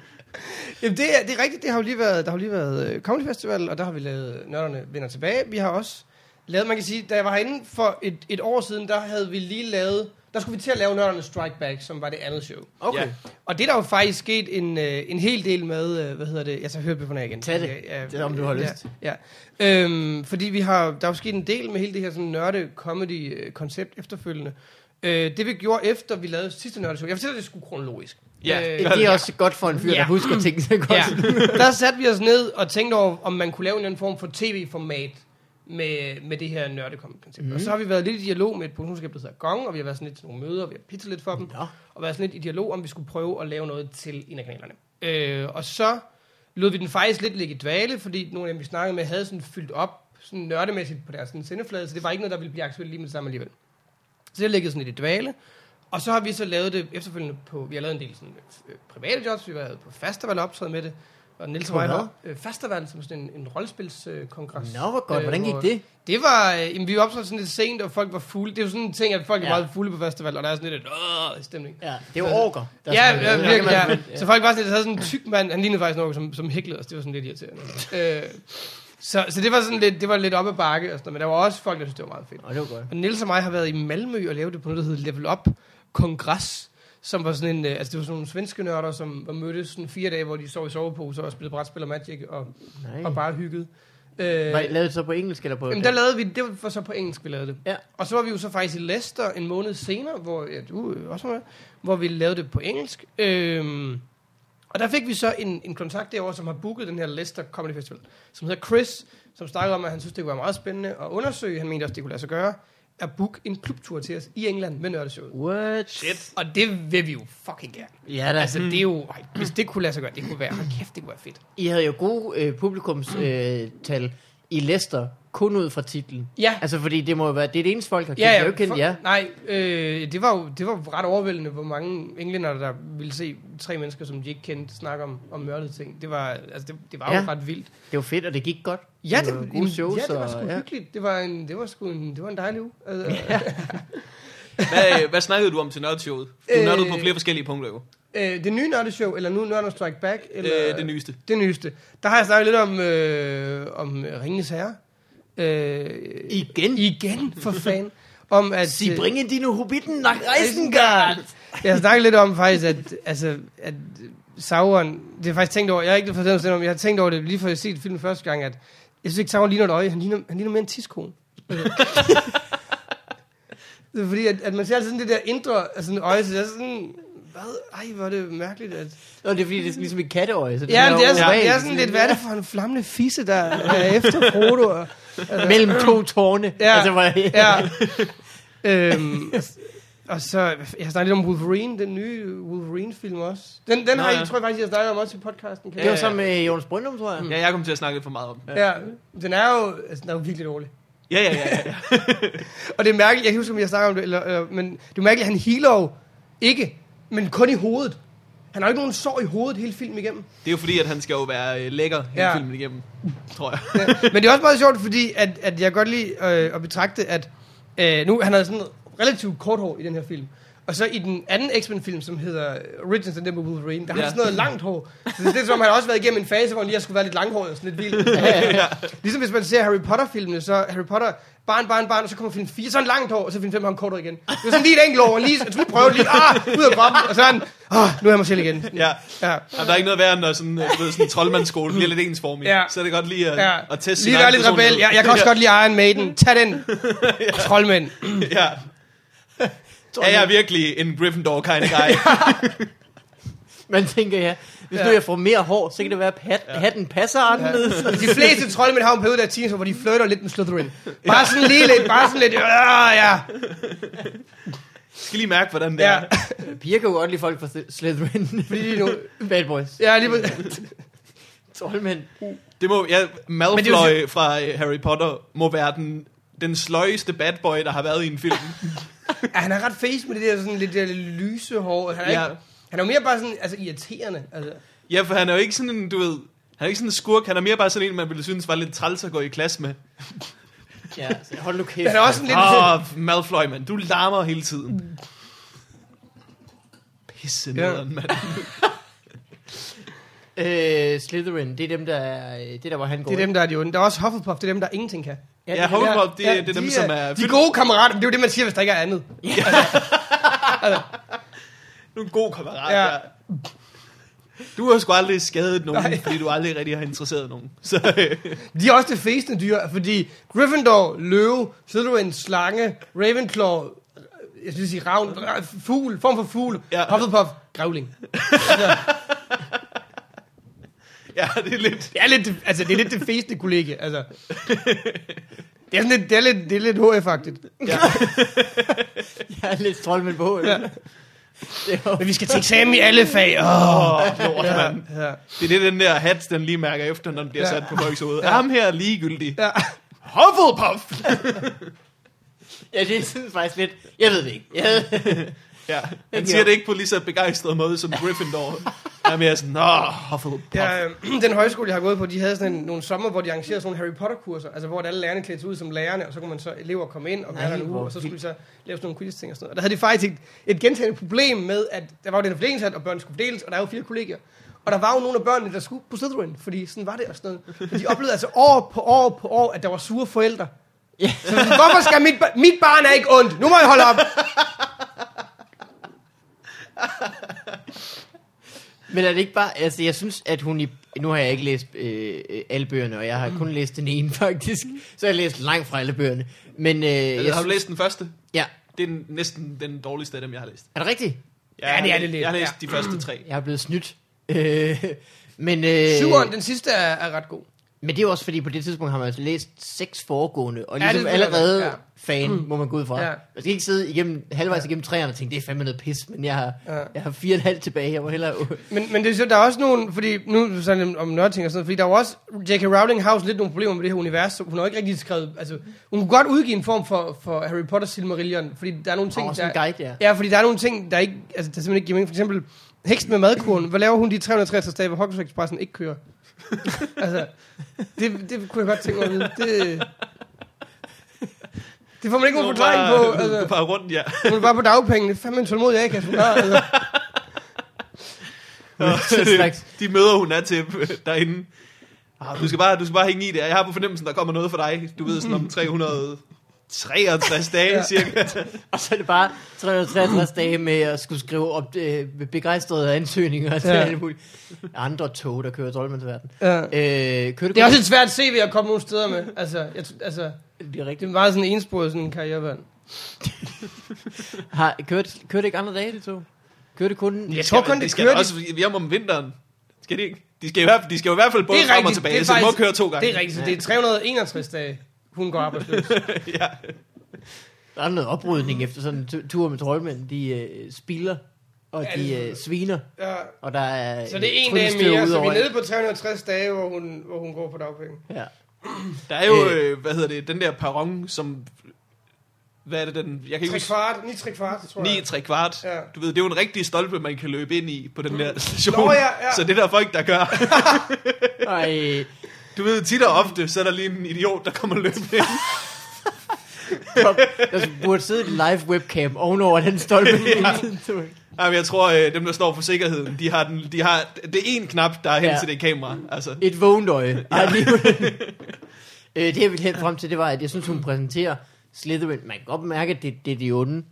jamen det, er, det er rigtigt, det har jo lige været, der har jo lige været øh, Comedy Festival, og der har vi lavet Nørderne vender tilbage. Vi har også lavet, man kan sige, da jeg var herinde for et, et år siden, der havde vi lige lavet... Der skulle vi til at lave Nørderne Strike Back, som var det andet show.
Okay.
Ja.
Og det er der jo faktisk sket en, øh, en hel del med, øh, hvad hedder det, jeg tager hørebøfferne af igen.
Tag det.
Ja, ja,
Det er, om du har lyst.
Ja, ja. Øhm, fordi vi har, der er jo sket en del med hele det her sådan nørde comedy øh, koncept efterfølgende. Øh, det vi gjorde efter, vi lavede sidste nørdeshow, jeg fortæller det sgu kronologisk.
Ja.
Øh,
Det er også godt for en fyr,
Ja.
der husker ting så godt.
ja. Der satte vi os ned og tænkte over, om man kunne lave en eller anden form for tv-format med, med det her nørdekommet-koncept.
Mhm.
Mm. Og så har vi været lidt i dialog med et produktionsselskab, der hedder Gong, og vi har været sådan lidt til nogle møder, og vi har pittet lidt for dem
Nå.
og været sådan lidt i dialog, om vi skulle prøve at lave noget til en af kanalerne. Øh, og så lod vi den faktisk lidt ligge i dvale, fordi nogle af dem, vi snakkede med, havde sådan fyldt op sådan nørdemæssigt på deres sådan sendeflade, så det var ikke noget, der ville blive aktuelt lige med det samme alligevel. Så det ligger sådan lidt i dvale. Og så har vi så lavet det efterfølgende på, vi har lavet en del sådan, øh, private jobs, vi har været på festival optræde med det, og Niels
På
og jeg
hvad?
var øh, festival som sådan en, en rollespilskongres.
Nå, Øh, hvor godt. Hvordan gik det?
Det var, øh, jamen, vi var optrådt sådan lidt sent, og folk var fulde. Det er jo sådan en ting, at folk ja. er
Ja.
meget fulde på festival, og der er sådan lidt et øh, stemning.
Ja, det var orker. der
Ja,
snakkede.
ja,
Der
virkelig,
kan
ja.
man-
Så folk var sådan, lidt- der havde sådan en tyk mand, han lignede faktisk noget, som, som hæklede os, det var sådan lidt irriterende. øh, så, så det var sådan lidt, det var lidt op ad bakke, og sådan, noget, men der var også folk, der synes, det var meget fedt.
Nå, det var godt.
Og Niels og mig har været i Malmø og lavet det på noget, der hedder Level Up Kongres, som var sådan en, øh, altså det var sådan nogle svenske nørder, som var mødtes sådan fire dage, hvor de sov i soveposer og spillede brætspil og Magic og,
Nej.
og bare hyggede. Øh,
Var I lavet så på engelsk eller på...
Jamen, der lavede vi, det var så på engelsk, vi lavede det.
Ja.
Og så var vi jo så faktisk i Leicester en måned senere, hvor ja, du øh, også var med, hvor vi lavede det på engelsk. Øhm, og der fik vi så en, en kontakt derovre, som har booket den her Leicester Comedy Festival, som hedder Chris, som snakkede om, at han synes, det kunne være meget spændende at undersøge. Han mente også, det kunne lade sig gøre at booke en klubtur til os i England med nørdeshowet.
What?
Shit.
Og det vil vi jo fucking gerne.
Ja, da.
Altså, det er jo... Ej, hvis det kunne lade sig gøre, det kunne være... Hold kæft, det kunne være fedt.
I havde jo gode øh, publikumstal øh, tal i Leicester, kun ud fra titlen.
Ja.
Altså, fordi det må jo være... Det er det eneste folk har kendt. Ja, ja. Jeg har jo kendt
for-
jer.
Nej, øh, det, var jo, det var jo ret overvældende, hvor mange englænder, der ville se tre mennesker, som de ikke kendte, snakke om, om mørdede ting. Det var, altså, det, det var ja.
Ja.
jo ret vildt.
Det var fedt, og det gik godt.
Ja,
det var
det,
gode shows.
ja, det var
og-
sgu ja. hyggeligt. Det var, en, det var sgu en, det var en dejlig uge. Altså,
Hvad, øh, hvad snakkede du om til nørdeshowet? Du
Øh,
nørdede på flere forskellige punkter jo.
øh, det nye nørdeshow, eller nu Nørder Strike Back, eller
Øh, det nyeste.
det nyeste, der har jeg snakket lidt om, øh, om Ringens Herre. Øh,
Igen?
igen, for fanden. Om at,
Sig,
øh,
bringe dine hobbitten nach Reisengard.
Jeg har snakket lidt om faktisk, at, altså, at Sauron, det har jeg faktisk tænkt over, jeg har ikke fortalt mig om, jeg har tænkt over det lige før jeg set filmen første gang, at jeg synes ikke, Sauron ligner et øje, han ligner, han ligner mere en tiskone. Det er fordi, at, at man ser altid sådan det der indre altså sådan øje, så det er sådan, hvad? Ej, hvor er det mærkeligt, at...
Nå, det er fordi, det er ligesom et katteøje. Så
Ja, men det er, sådan,
ovalt.
det er sådan lidt, hvad er det for en flammende fisse, der er efter Frodo? Og,
Mellem to tårne.
Ja.
Altså, hvor, ja.
ja. øhm, og, og så, jeg snakkede lidt om Wolverine, den nye Wolverine-film også. Den, den
Nå,
har
ja.
jeg, tror jeg faktisk, jeg snakkede om også i podcasten. Kan
Det var
Ja, Mm.
så med Jonas Brøndum, tror
Mm.
jeg.
Ja, jeg kom til at snakke lidt for meget om. Ja,
ja. ja. Den er jo, altså, den er jo virkelig dårlig.
ja, ja. ja, ja.
Og det er mærkeligt, jeg kan ikke huske, om jeg snakker om det, eller, eller, men det er mærkeligt, at han healer jo ikke, men kun i hovedet. Han har jo ikke nogen sår i hovedet hele filmen igennem.
Det er jo fordi, at han skal jo være øh, lækker hele
Ja.
filmen igennem, tror jeg.
Ja. Men det er også meget sjovt, fordi at, at jeg godt lide øh, at betragte, at øh, nu han havde sådan relativt kort hår i den her film. Og så i den anden X-Men-film, som hedder Origins and Devil Wolverine, der har
Ja.
han sådan noget langt hår. Så det er som om, han har også været igennem en fase, hvor han lige har skulle være lidt langhåret og sådan lidt vildt. Ligesom hvis man ser Harry Potter-filmene, så Harry Potter, barn, barn, barn, og så kommer film 4, så er han langt hår, og så film 5 har han kort hår igen. Det er sådan lige et enkelt år, og lige, jeg skulle lige prøve det lige, ah, ud af kroppen, og så er han, ah, nu er jeg mig selv igen.
Ja.
Ja.
Jamen, der er ikke noget værre, end når sådan, øh, du ved, sådan en troldmandsskole bliver lidt ensformig.
Ja.
Så er det godt lige at,
Ja.
at teste sin
Lige
egen
være lidt
personlighed.
rebel. Jeg, jeg kan også godt lide Iron Maiden. Tag den. Troldmænd.
ja. Er jeg virkelig en Gryffindor kind of guy?
Man tænker, ja, hvis
Ja.
nu jeg får mere hår, så kan det være, at pat- hatten passer anderledes.
De fleste troldmænd har jo en periode af teenager, hvor de flirter lidt med Slytherin. Bare sådan lige lidt, bare sådan lidt, øh, ja,
skal lige mærke, hvordan det
ja.
er.
Piger kan jo godt lide folk fra Sly- Slytherin.
Fordi de nu,
Bad boys.
ja, lige, præ-
Troldmænd.
Det må, ja,
Men det er
Malfoy fra øh, Harry Potter må være den, den sløjeste bad boy, der har været i en film.
ja, han er ret face med det der sådan lidt der lyse hår. Han er,
Ja.
ja. ikke, han er jo mere bare sådan, altså irriterende. Altså.
Ja, for han er jo ikke sådan en, du ved... Han er ikke sådan en skurk, han er mere bare sådan en, man ville synes var lidt træls at gå i klasse med.
Ja, så hold nu kæft.
Han er også sådan lidt, Mm.
Åh, oh, Malfoy, mand, du larmer hele tiden. Pisse
Ja.
nederen, mand.
Øh, Slytherin, det er dem, der er... øh, Det er der, hvor han går.
det er dem, der er de onde. Der er også Hufflepuff, det er dem, der ingenting kan.
Ja,
Ja, Hufflepuff, det, det er
de
dem, som er...
De gode kammerater, det er jo det, man siger, hvis der ikke er andet.
Du er en god kammerat,
Ja.
ja. ja. Du har sgu aldrig skadet nogen, Nej. fordi du aldrig rigtig har interesseret nogen. Så, øh,
De er også det fæsende dyr, fordi Gryffindor, løve, Slytherin, slange, Ravenclaw, jeg skulle sige ravn, ra- fugl, form for fugl,
Ja.
ja. Hufflepuff, grævling.
ja, det er lidt...
Det er lidt, altså, det er lidt det fæsende kollega, altså. Det er, sådan lidt, det er lidt, det er lidt HF-agtigt.
Ja.
Jeg er lidt troldmænd på. Ja.
Ja. Men vi skal til eksamen i alle fag. Åh,
Åh, lort,
ja,
mand.
ja.
Det er det, den der hat, den lige mærker efter, når den bliver
Ja.
sat på folks hoved. Ja. Ham her er ligegyldig.
Ja.
Hufflepuff!
ja, det synes faktisk lidt... Jeg ved det ikke. Jeg ved...
Ja, han siger det ikke på lige så begejstret måde som Gryffindor. Han er mere sådan, åh, Hufflepuff.
Ja, øh, den højskole, jeg har gået på, de havde sådan en, nogle sommer, hvor de arrangerede sådan nogle Harry Potter-kurser, altså hvor alle lærerne klædte sig ud som lærerne, og så kunne man så elever komme ind og
Nej,
gøre en uge,
hvor
og så skulle de så lave sådan nogle quiz-ting og sådan noget. Og der havde de faktisk et, et gentagende problem med, at der var jo den her fordelingshat, og børnene skulle fordeles, og der er jo fire kollegier. Og der var jo nogle af børnene, der skulle på Slytherin, fordi sådan var det og sådan noget. Men de oplevede altså år på år på år, at der var sure forældre.
Ja.
Så sådan, hvorfor skal mit, bar- mit barn er ikke ondt? Nu må jeg holde op.
Men er det ikke bare... Altså, jeg synes, at hun i... Nu har jeg ikke læst øh, øh, alle bøgerne, og jeg har kun læst den ene, faktisk. Så har jeg læst langt fra alle bøgerne. Men øh,
Jeg
jeg
har du
synes,
læst den første?
Ja.
Det er den- næsten den dårligste af dem, jeg har læst.
Er det rigtigt?
Jeg
Ja, det er
har-
det lidt,
Jeg har læst de første tre.
Jeg er blevet snydt. Øh, men, øh,
Syveren, den sidste er, er ret god.
men det er jo også fordi, på det tidspunkt har man altså læst seks foregående, og
Ja,
ligesom
det er
allerede
det, ja.
fan, må man gå ud fra.
Ja.
Man skal ikke sidde igennem, halvvejs igennem træerne og tænke, det er fandme noget pis, men jeg har,
Ja.
jeg har fire og en halv tilbage, jeg må hellere...
Men, men det er så, der er også nogen, fordi nu sådan om nørting og sådan noget, fordi der er jo også, J.K. Rowling har også lidt nogle problemer med det her univers, så hun har jo ikke rigtig skrevet, altså, hun kunne godt udgive en form for, for Harry Potter Silmarillion, fordi der er nogle ting,
Åh, sådan en
der,
guide, ja.
ja, fordi der er nogle ting, der ikke, altså, der simpelthen ikke giver mening. For eksempel, heksen med madkurven, hvad laver hun de 363 dage, hvor Hogwarts Expressen ikke kører? altså, det, det kunne jeg godt tænke mig at vide. Det, det får man ikke nogen forklaring på.
altså.
Altså.
Du bare rundt, ja.
Hun er bare på dagpengene. Fandme en tålmodig a hun har. Altså.
slags-
de møder hun er til øh, derinde. Ah, Du skal, bare, du skal bare hænge i det. Jeg har på fornemmelsen, der kommer noget for dig. Du ved sådan om 363 dage,
Ja.
cirka.
Og så er det bare 363 dage med at skulle skrive op øh, begejstrede ansøgninger og ja.
Ja.
alt muligt. Andre tog, der kører troldmandsverden.
Ja.
Øh, kører du
Det er også et svært CV at komme nogle steder med. Altså, jeg, tr- altså
det er
det
rigtigt.
er meget sådan ensporet sådan en karrierevand.
Har, kørte, kørte ikke andre dage, de to? Kørte kun...
Jeg tror
Jamen,
kun,
det
det
skal da
kører de
også hjem om vinteren. Skal de ikke? De skal, i hvert, de skal jo i hvert fald både
Det er
frem og
rigtigt,
tilbage,
det er
så de må
faktisk-
køre to gange.
Det er rigtigt, så det er 361 dage, hun går arbejdsløs.
Der er noget oprydning efter sådan en tu- tur med troldmænd. De øh, spiller, og de øh, sviner,
Ja,
og der er
så det er en
øh,
dag
tryllestav
mere,
ud
så vi
over
er nede på 360 dage, hvor hun, hvor hun går på dagpenge.
alt. Ja.
Der er jo, øh, hvad hedder det, den der perron, som... Hvad er det, den... Jeg kan ikke
Tre
huske...
kvart, ni tre kvart, tror jeg.
9 3 kvart.
Ja. Mm.
Du ved, det er jo en rigtig stolpe, man kan løbe ind i på den der station.
Nå, ja, ja.
Så det er der folk, der gør.
Ej,
Du ved, tit og ofte, så er der lige en idiot, der kommer løbende ind.
kom, der burde sidde et live webcam ovenover den stolpe. ja.
Jamen, jeg tror, øh, dem, der står for sikkerheden, de har, den, de har det er én knap, der er hen
Ja.
ja. til det kamera. Altså.
Et vågent øje. Ja. øh, det jeg ville hen frem til, det var, at jeg synes, hun præsenterer Slytherin. Man kan godt mærke, at det, det er de onde.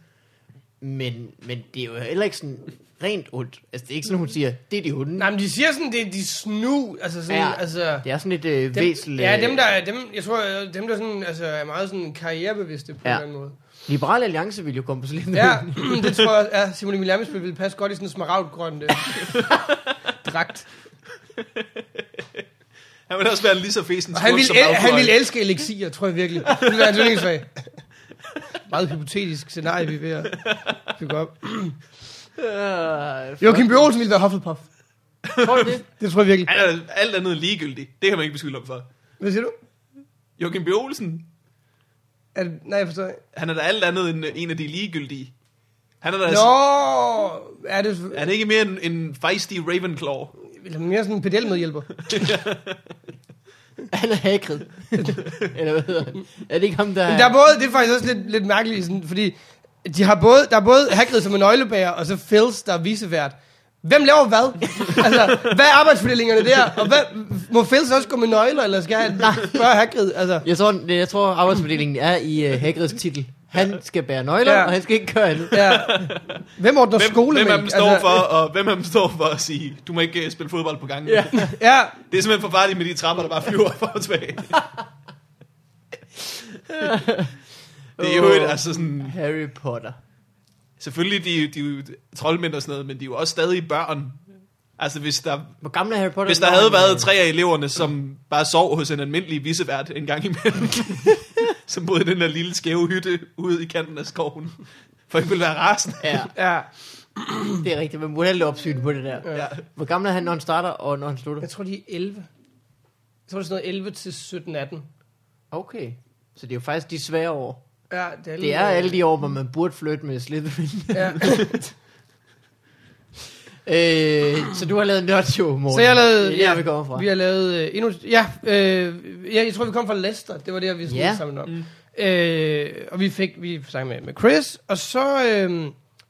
Men, men det er jo heller ikke sådan rent ondt. Altså, det er ikke sådan, hun siger, det er de onde.
Nej, men de siger sådan, det er de snu, altså sådan,
Ja.
ja. altså...
Det er sådan et øh,
Dem,
væsel.
ja,
øh,
dem der, er- dem, jeg tror, øh, dem der sådan, altså, er meget sådan karrierebevidste på
Ja.
ja. en eller anden måde.
Liberal Alliance ville jo komme på Slytherin.
Ja, det tror jeg, ja, Simon Emil Amesbøl ville passe godt i sådan en smaragdgrøn øh, dragt.
Han vil også være lige så fesen
Og han
smuk
ville,
som
el-
Malfoy.
han ville elske elixir, tror jeg virkelig. Det ville være hans yndlingsfag. Meget hypotetisk scenarie, vi er ved at bygge op.
Øh,
Joachim B. Olsen ville være Hufflepuff.
Tror du det?
Det tror jeg virkelig.
Han er alt andet ligegyldigt. Det kan man ikke beskylde ham for.
Hvad siger du?
Joachim B. Olsen,
Er det, nej, jeg forstår ikke.
han er da alt andet end øh, en af de ligegyldige. Han er da...
Nå, er det...
Er han ikke mere en, en feisty Ravenclaw?
Eller mere sådan en pedelmedhjælper.
Han er Hagrid. Eller hvad hedder han? Er det ikke ham, der...
Men der er både, det er faktisk også lidt, lidt mærkeligt, sådan, fordi de har både, der er både Hagrid som en nøglebærer, og så Phils, der er visevært. Hvem laver hvad? altså, hvad er arbejdsfordelingerne der? Og hvad, må Phils også gå med nøgler, eller skal han spørge Hagrid? Altså,
Jeg tror, det- jeg tror arbejdsfordelingen er i uh, Hagrids titel. Han skal bære nøgler, ja.
Ja.
og han skal ikke gøre andet.
ja. Hvem ordner
Hvem,
skole
hvem af dem
Altså-
står for, og hvem af dem står for at sige, du må ikke øh, spille fodbold på gangen.
Ja.
Det
Ja,
er simpelthen for farligt med de trapper, der bare flyver op og tilbage. det er jo et, altså sådan,
Harry Potter.
selvfølgelig de, de er jo troldmænd og sådan noget, men de er jo også stadig børn. Altså hvis der,
Hvor gammel er Harry Potter?
hvis der
Når
havde
han,
været
øh,
tre af eleverne, som bare sov hos en almindelig vissevært en gang imellem, som boede i den der lille skæve hytte ude i kanten af skoven, for ikke ville være rasende.
Ja,
ja.
det er rigtigt. Man burde have lidt opsyn på det der.
Ja.
Hvor gammel er han, når han starter, og når han slutter?
Jeg tror, de er 11. Jeg tror, det er sådan noget 11 til 17-18.
Okay. Så det er jo faktisk de svære år.
Ja, det er,
Det er alle de år, hvor man burde flytte med Slytherin.
Ja.
øh, så du har lavet en nørdshow, Morten.
Så jeg har lavet...
Det er der, vi kommer fra.
Vi har lavet øh, endnu... Ja, øh, ja, jeg tror, vi kom fra Leicester. Det var der, vi
Ja.
yeah. sammen om. Mm. Øh, og vi fik... Vi sang med, med Chris, og så øh,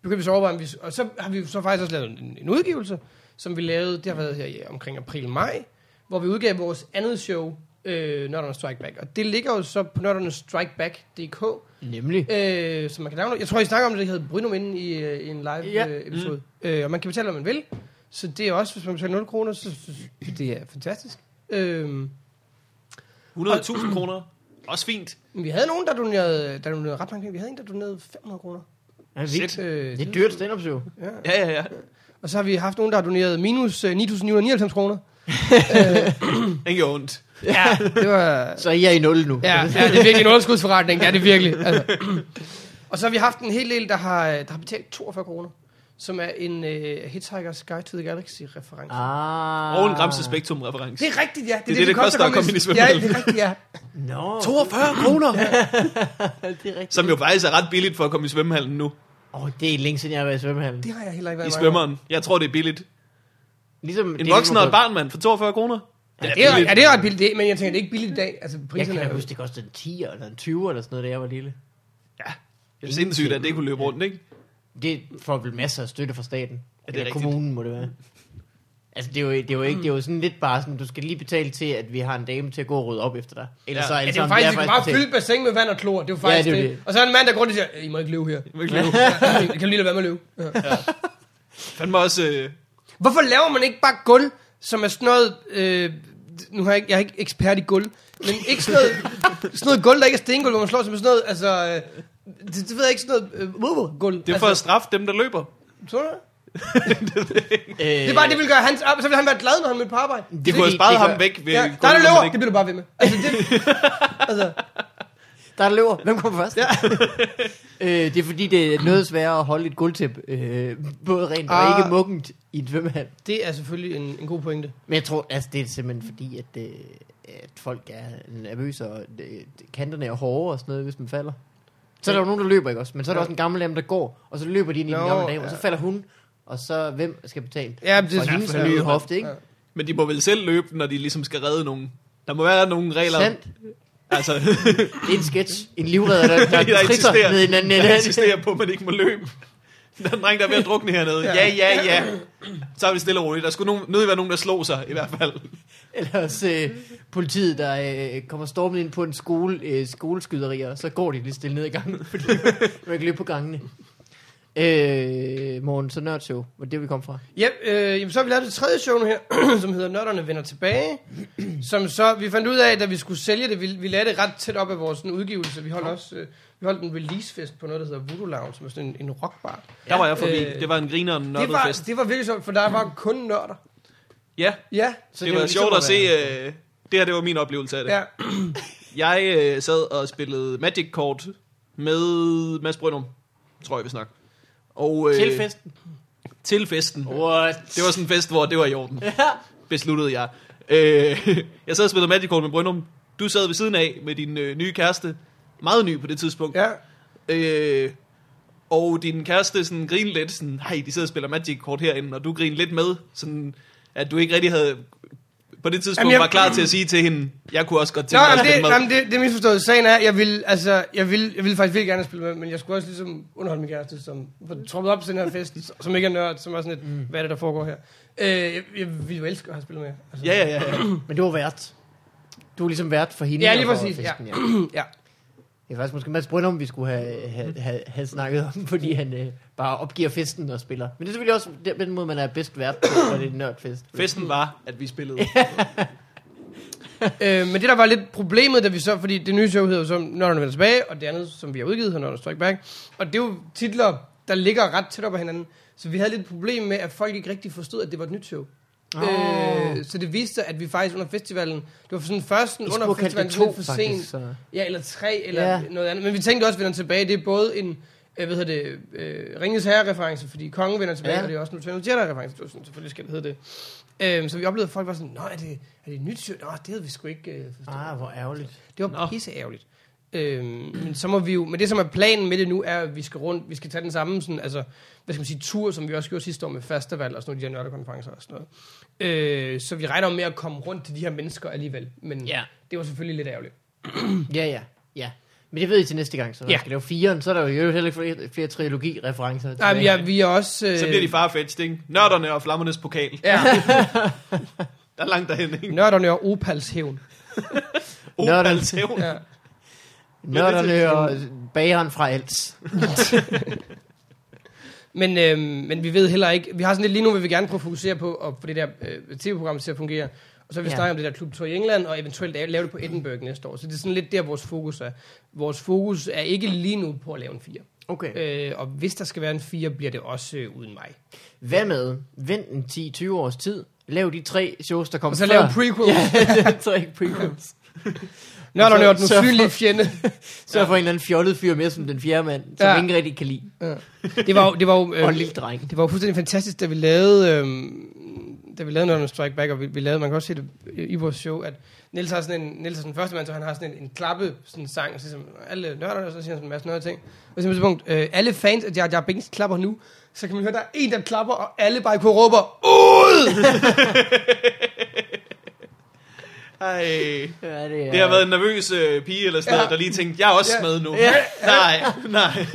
begyndte vi så at overveje, om vi, og så har vi så faktisk også lavet en, en udgivelse, som vi lavede, det har været her ja, omkring april-maj, hvor vi udgav vores andet show, øh, Nørderne Strike Back. Og det ligger jo så på nørdernestrikeback.dk,
Nemlig.
øh, som man kan downloade. Jeg tror, I snakker om det, det hedder Bryno inden i, øh, i en live
Ja.
ja. øh, episode. Mm. Øh, og man kan betale, hvad man vil. Så det er også, hvis man betaler 0 kroner, så synes vi, det er fantastisk. Øh,
100.000 kroner, også fint.
vi havde nogen, der donerede, der donerede ret mange penge. Vi havde en, der donerede 500 kroner.
Ja, vildt.
Øh,
Det er dyrt stand-up-show.
Ja.
Ja, ja, ja.
Og så har vi haft nogen, der har doneret minus øh, 9.999 kroner.
Den gjorde ondt.
Ja, det var...
Så I er i nul nu.
Ja, ja, det er virkelig en underskudsforretning. Ja, det er virkelig. Altså. Og så har vi haft en hel del, der har, der har betalt 42 kroner, som er en uh, Hitchhiker's Guide to the Galaxy-reference.
Ah.
Og en Gramse Spektrum-reference.
Det er rigtigt, ja.
Det er det, det koster at komme ind i
Ja,
svømmehallen.
det er rigtigt, ja.
Nå,
42 kroner!
det er rigtigt.
Som jo faktisk er ret billigt for at komme i svømmehallen nu.
Åh, oh, det er længe siden, jeg har været i svømmehallen.
Det har jeg heller ikke
I
været mange
svømmeren. Jeg tror, det er billigt.
Ligesom
En voksen og et barn, mand, for 42 kroner.
gange. Det er, ja, det er ret billigt, det, men jeg tænker, det er ikke billigt i dag. Altså,
Jeg
priserne
kan
er
da
jo...
huske, det kostede en 10 eller en 20 eller sådan noget, da jeg var lille.
Ja. Det er sindssygt, at det kunne løbe rundt, ikke?
Det får vel masser af støtte fra staten. Ja,
er
det er
rigtigt.
kommunen, må det være. Altså, det er, jo, det, er jo ikke, det er jo sådan lidt bare sådan, du skal lige betale til, at vi har en dame til at gå og rydde op efter dig. Eller
Ja.
så er
Ja, det er
sammen,
jo faktisk, det bare
betalt.
fyldt bassin med vand og klor. Det er jo faktisk
Ja,
ja,
det er
det,
jo
det.
det.
Og så er der en mand, der går rundt og siger, "Øh, I må ikke løve her.
Det kan
Jeg kan du lige lade være med at løve. Ja.
Fandme også... Øh,
Hvorfor laver man ikke bare gulv, som er sådan noget... Øh, nu har jeg, ikke, jeg er ikke ekspert i gulv, men ikke sådan noget, sådan noget gulv, der ikke er stengulv, hvor man slår sig med sådan noget, altså, øh, det, det ved jeg ikke, sådan noget øh, wow, gulv.
Det er for at
altså,
straffe dem, der løber.
tror du det?
Øh,
Det er bare, det vil gøre hans arbejde, så vil han være glad, når han mødte på arbejde.
De kunne have sparet ham væk. Ved
Ja, der er det løver, det bliver du bare ved med. Altså, det, altså,
Der er løver. Hvem kommer først? Ja. øh, det er fordi, det er noget sværere at holde et guldtæp, øh, både rent ah. og
Ah.
ikke muggent i en svømmehal.
det er selvfølgelig en, en god pointe.
Men jeg tror, altså, det er simpelthen fordi, at, øh, at folk er nervøse, og øh, kanterne er hårde og sådan noget, hvis man falder. Så er der jo nogen, der løber, ikke også? Men så er der
Ja.
også en gammel dame, der går, og så løber de ind i den
Nå,
gamle dame, og så
ja.
falder hun, og så hvem skal betale?
Ja, det
Og hendes
ja,
nye
ja.
hofte, ikke?
Ja.
Men de må vel selv løbe, når de ligesom skal redde nogen. Der må være nogle regler.
Sandt.
Altså,
Det er en sketch. En livredder, der, der,
Der
der
insisterer.
trisser ned i den anden ende.
jeg insisterer på, at man ikke må løbe. Der er en dreng, der er ved at drukne hernede. Ja, ja, ja. Så er vi stille og roligt. Der skulle nogen, nødt være nogen, der slog sig, i hvert fald.
Eller også øh, politiet, der øh, kommer stormen ind på en skole, øh, skoleskyderi, og så går de lige stille ned ad gangen, fordi man ikke løbe på gangene. Øh, morgen, så nørdshow, hvor det vi kom fra.
Ja, øh, jamen, så har vi lavet det tredje show nu her, som hedder Nørderne vender tilbage. som så, vi fandt ud af, da vi skulle sælge det, vi, vi lagde det ret tæt op af vores sådan, udgivelse. Vi holdt også øh, vi holdt en releasefest på noget, der hedder Voodoo Lounge, som er sådan en, en rockbar.
Der var jeg forbi.
Øh,
Det var en griner og en
Det
nørdet
var,
fest.
det var virkelig sjovt, for der var kun nørder.
Ja,
Ja,
så det,
det var
var
ligesom
sjovt
at
at se. Øh, det her, det var min oplevelse af det.
ja.
Jeg øh, sad og spillede Magic Kort med Mads Brønum, tror jeg, vi snakker. Og, øh,
Til festen.
Til festen.
What?
Det var sådan en fest, hvor det var i orden. Ja. Besluttede jeg. Øh, jeg sad og spillede Magic Kort med Brønum. Du sad ved siden af med din øh, nye kæreste. Meget ny på det tidspunkt.
ja.
Øh, og din kæreste sådan grinede lidt, sådan, hej, de sidder og spiller Magic kort herinde, og du grinede lidt med, sådan, at du ikke rigtig havde på det tidspunkt
Jamen,
jamen,
jeg-
jeg... var klar til at sige til hende, jeg kunne også godt
Nå,
tænke mig at
jamen,
spille
det,
med.
jamen, det, det er misforstået. Sagen er, jeg ville, altså, jeg ville, jeg ville faktisk virkelig gerne spille med, men jeg skulle også ligesom underholde min kæreste, som var troppet op til den her fest, som ikke er nørd, som er sådan lidt, mm. hvad er det, der foregår her? Øh, jeg, jeg ville jo elske at have spillet med. Altså.
Ja, ja, ja. ja.
Men du var vært. Du var ligesom vært for hende.
Ja, lige
og for
præcis, ja.
ja.
ja.
Det er faktisk måske Mads Brøndum, vi skulle have, have, have, have snakket om, fordi han øh, bare opgiver festen og spiller. Men det er selvfølgelig også den- den måde, man er bedst vært på, når det er en nørdfest.
Festen var, at vi spillede.
Øh, men det der var lidt problemet, da vi så, fordi det nye show hedder jo så Nørderne vender tilbage, og det andet, som vi har udgivet, hedder Nørderne Strike Back. Og det er jo titler, der ligger ret tæt op ad hinanden. Så vi havde lidt problem med, at folk ikke rigtig forstod, at det var et nyt show.
Åh.
Øh, så det viste sig, at vi faktisk under festivalen, det var sådan først
I
under
skulle kalde det
festivalen
to,
lidt for sent,
faktisk. Så.
ja, eller tre, eller
Ja.
ja. noget andet. Men vi tænkte også, at vender tilbage, det er både en, øh, hvad hedder det, øh, Ringens Herre-reference, fordi kongen vender tilbage,
Ja.
ja. og det er også en Lieutenant Jedi-reference, det var sådan, selvfølgelig skal det hedde det. Øhm, så vi oplevede, at folk var sådan, nej, er det, er det et nyt show? Nå, det havde vi sgu ikke øh, forstået.
Ah, hvor ærgerligt.
Det var
Nå.
pisseærgerligt. Øhm, men så må vi jo, men det som er planen med det nu, er, at vi skal rundt, vi skal tage den samme, sådan, altså, hvad skal man sige, tur, som vi også gjorde sidste år med festival og sådan nogle af de her nørdekonferencer og sådan noget. Øh, så vi regner med at komme rundt til de her mennesker alligevel, men
Ja.
det var selvfølgelig lidt ærgerligt.
Ja, ja, ja. Men det ved I til næste gang, så når
Ja.
ja. skal lave firen, så er der jo i øvrigt heller ikke flere, flere trilogi-referencer.
Nej, men
tilbage.
ja, vi er også... Øh,
Så bliver de farfetched, ikke? Nørderne og flammernes pokal.
Ja,
Der er langt derhen, ikke?
nørderne og Opals hævn.
Opal Tævn.
Ja.
Nørderne og bageren fra Als.
Men, øh, men vi ved heller ikke, vi har sådan lidt lige nu, vil vi gerne prøve at fokusere på at få det der øh, tv-program til at fungere. Og så har vi
Ja.
ja. snakket om det der klubtur i England, og eventuelt lave lave det på Edinburgh næste år. Så det er sådan lidt der, vores fokus er. Vores fokus er ikke lige nu på at lave en fire.
Okay.
Øh, og hvis der skal være en fire, bliver det også øh, uden mig.
Hvad med, vent en 10-20 års tid, lav de tre shows, der kommer
Og så
før.
lave prequels. Ja.
Ja, tre prequels.
Nørd og
Så-
nørd, den
så-
usynlige fjende.
Så får en eller anden fjollet fyr med som den fjerde mand, som
Ja.
ingen rigtig kan lide.
Det var jo, det var jo,
Og en
øh,
lille dreng.
det var jo fuldstændig fantastisk, da vi lavede... Øh, da vi lavede Nørderne Strike Back, og vi, vi lavede, man kan også se det i vores show, at Niels har sådan en, Niels er den første mand, så han har sådan en, en klappe sådan sang, og så siger han, alle nørderne, og så siger han sådan en masse nørder ting. Og så på et punkt, øh, alle fans af Jar Jar Binks klapper nu, så kan man høre, der er en, der klapper, og alle bare i kor råber, ud!
Ej.
Ja, det, er,
Det har været en nervøs øh, pige eller sådan
Ja.
noget, der lige tænkte, jeg er også
Ja.
med nu.
Ja.
Nej, nej.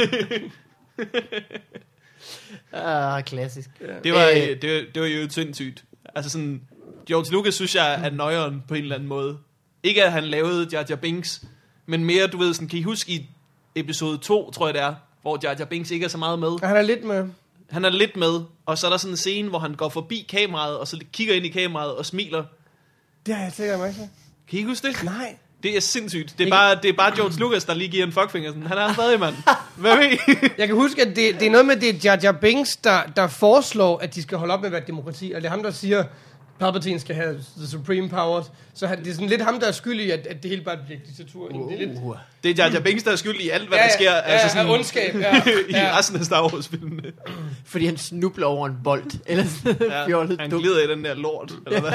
Ah, klassisk. Ja.
Det var,
Øh.
øh, det, det var jo sindssygt. Altså sådan, George Lucas synes jeg er nøjeren på en eller anden måde. Ikke at han lavede Jar Jar Binks, men mere, du ved, sådan, kan I huske i episode 2, tror jeg det er, hvor Jar Jar Binks ikke er så meget med.
Og han er lidt med,
Han er lidt med, og så er der sådan en scene, hvor han går forbi kameraet, og så kigger ind i kameraet og smiler.
Det har jeg slet ikke lagt mærke til.
Kan I ikke huske det?
Nej.
Det er sindssygt. Det er, bare, det er bare George Lucas, der lige giver en fuckfinger. Sådan, Han er stadig mand. Hvad ved I?
Jeg kan huske, at det, det er noget med, det er Jar Jar Binks, der, der foreslår, at de skal holde op med at være et demokrati. Og det er ham, der siger, Palpatine skal have the supreme power. Så han, det er sådan lidt ham, der er skyldig, at, at det hele bare bliver et diktatur. Wow. Det er lidt,
Uh,
Det er Jar Jar Binks, der er skyld i alt, hvad ja, der sker.
ja, altså sådan... ja, ondskab. Ja,
i
ja.
resten af Star Wars-filmene.
fordi han snubler over en bold. Eller sådan ja, fjollet
han
dumt.
glider i den der lort. Eller hvad?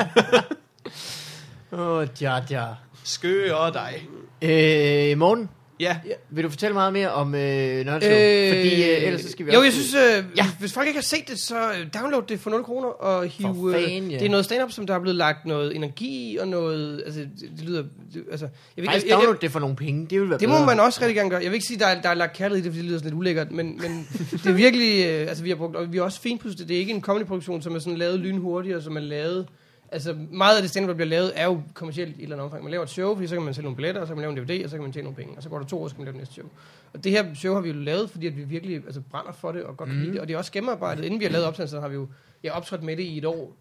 Åh, oh, Jar Jar.
Skøre dig.
Øh, morgen,
Ja,
vil du fortælle meget mere om øh, Nørreslo?
Øh,
Øh, fordi øh, ellers så skal vi
Jo,
også-
jeg synes, øh, ja.
Ja.
hvis folk ikke har set det, så øh, download det for 0 kroner og hiv...
For
Øh,
fanden, ja.
Det er noget stand-up, som der er blevet lagt noget energi i og noget... Altså, det, det lyder... Det, altså, jeg ved, ikke-
Faktisk
jeg, jeg,
download det for nogle penge, det vil være
det må
bedre.
man også rigtig gerne gøre. Jeg vil ikke sige, der er, der er lagt kærlighed i det, fordi det lyder sådan lidt ulækkert, men, men det er virkelig... Øh, altså, vi har brugt... Og vi har også finpudset. Det er ikke en comedy-produktion, som er sådan lavet lynhurtigt, og som er lavet... Altså, meget af det stand-up, der bliver lavet, er jo kommercielt i et eller andet omfang. Man laver et show, fordi så kan man sælge nogle billetter, og så kan man lave en DVD, og så kan man tjene nogle penge. Og så går der to år, og så kan man lave det næste show. Og det her show har vi jo lavet, fordi at vi virkelig altså, brænder for det og godt kan lide det. Og det er også gennemarbejdet. Inden vi har lavet optagelsen, har vi jo jeg har optrådt med det i et år.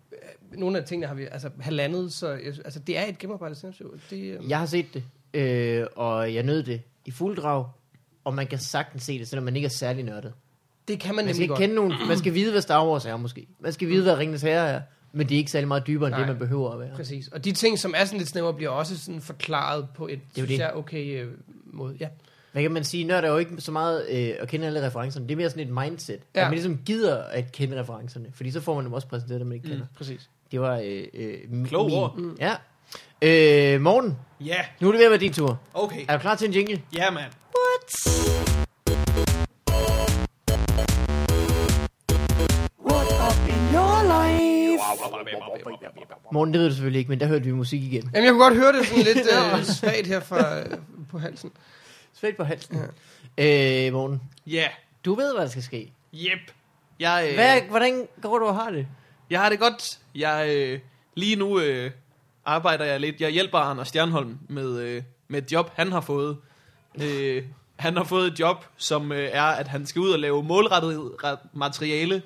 Nogle af tingene har vi altså halvandet, så jeg- altså, det er et gennemarbejdet stand-up-show. Det, øh,
Jeg har set det, øh, og jeg nød det i fuld drag, og man kan sagtens se det, selvom man ikke er særlig nørdet.
det kan man,
Man skal
nemlig
ikke
godt.
kende nogen, man skal vide, hvad Star Wars er måske. Man skal vide, hvad Ringens Herre er, men det er ikke særlig meget dybere, end
Nej.
det man behøver at være.
Præcis. Og de ting, som er sådan lidt snævre, bliver også sådan forklaret på et,
jo
synes
det.
jeg, okay øh, måde. Ja.
Hvad kan man sige, nørd er jo ikke så meget øh, at kende alle referencerne, det er mere sådan et mindset,
Ja.
ja. at man ligesom gider at kende referencerne, fordi så får man dem også præsenteret, når man ikke kender. Mm.
Præcis.
Det var øh, øh, min-
Kloge ord.
min- Ja. Øh, morgen,
ja,
nu er det ved at være din tur.
okay.
Er du klar til en jingle?
Ja, mand.
What up in your life?
Morgen, det ved du selvfølgelig ikke, men der hørte vi musik igen.
Jamen, jeg kunne godt høre det sådan lidt øh, svagt her fra, øh, på halsen.
Svært på halsen. Ja. Øh, morgen,
Ja,
du ved, hvad der skal ske.
yep. Jeg, øh,
Hvad, hvordan går du og har det?
jeg har det godt. Jeg, øh, lige nu øh, arbejder jeg lidt. Jeg hjælper Anders Stjernholm med, øh, med et job, han har fået. Øh, han har fået et job, som øh, er, at han skal ud og lave målrettet ret- materiale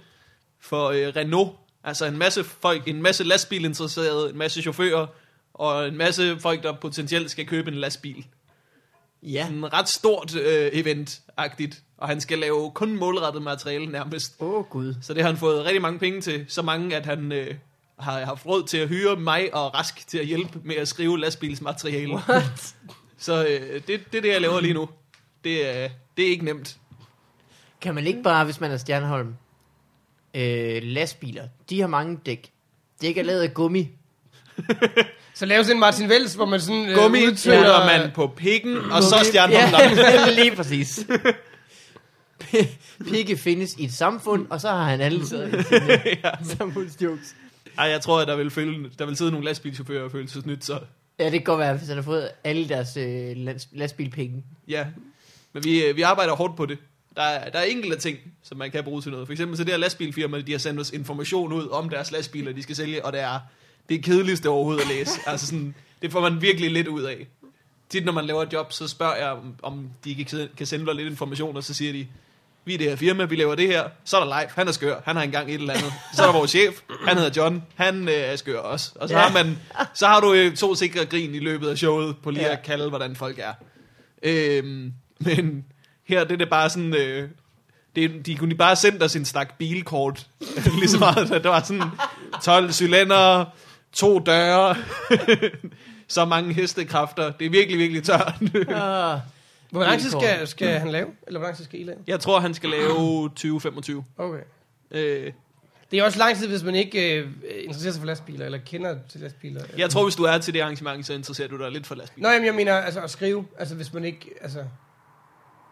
for øh, Renault. Altså en masse folk, en masse lastbilinteresserede, en masse chauffører, og en masse folk, der potentielt skal købe en lastbil.
Ja.
en ret stort øh, event-agtigt, og han skal lave kun målrettet materiale nærmest.
Åh, oh, Gud.
Så det har han fået rigtig mange penge til, så mange, at han øh, har haft råd til at hyre mig og Rask til at hjælpe med at skrive lastbilsmateriale.
What?
Så øh, det, det er det, jeg laver lige nu. Det, øh, det er ikke nemt.
Kan man ikke bare, hvis man er Stjernholm, øh, lastbiler, de har mange dæk. Dæk er lavet af gummi.
Så laves en Martin Vels, hvor man sådan... Øh,
Gummi
udtøller-
putter man på pikken, og så stjerner man
ja, lige præcis. Pikke findes i et samfund, og så har han alle taget i sine samfundsjokes.
Ej, jeg tror, at der vil, føle, der vil sidde nogle lastbilchauffører og føle sig snydt, så
Ja, det kan godt være, hvis han har fået alle deres øh, lands- lastbilpenge.
Ja, men vi, øh, vi arbejder hårdt på det. Der er, der er enkelte ting, som man kan bruge til noget. For eksempel så det her lastbilfirma, de har sendt os information ud om deres lastbiler, de skal sælge, og det er det kedeligste overhovedet at læse. altså sådan, det får man virkelig lidt ud af. Tit når man laver et job, så spørger jeg, om- om de ikke kan sende lidt information, og så siger de, vi er det her firma, vi laver det her. Så er der Leif, han er skør, han har engang et eller andet. Så er der vores chef, han hedder John, han øh, er skør også. Og så,
Ja.
har man, så har du øh, to sikre grin i løbet af showet, på lige
Ja.
at kalde, hvordan folk er. Øhm, men her det er det bare sådan... Øh, det, de kunne bare sende os en stak bilkort. lige så meget. Der var sådan 12 cylinder, to døre, så mange hestekræfter. Det er virkelig, virkelig tørt.
Ah,
Hvor lang tid skal, skal han lave? Eller hvor lang tid skal I lave?
Jeg tror, han skal lave 20-25.
Okay.
Øh,
Det er også lang tid, hvis man ikke øh, interesserer sig for lastbiler, eller kender til lastbiler. Eller...
jeg tror, hvis du er til det arrangement, så interesserer du dig lidt for lastbil.
Nå, jamen, jeg mener, altså at skrive, altså hvis man ikke, altså...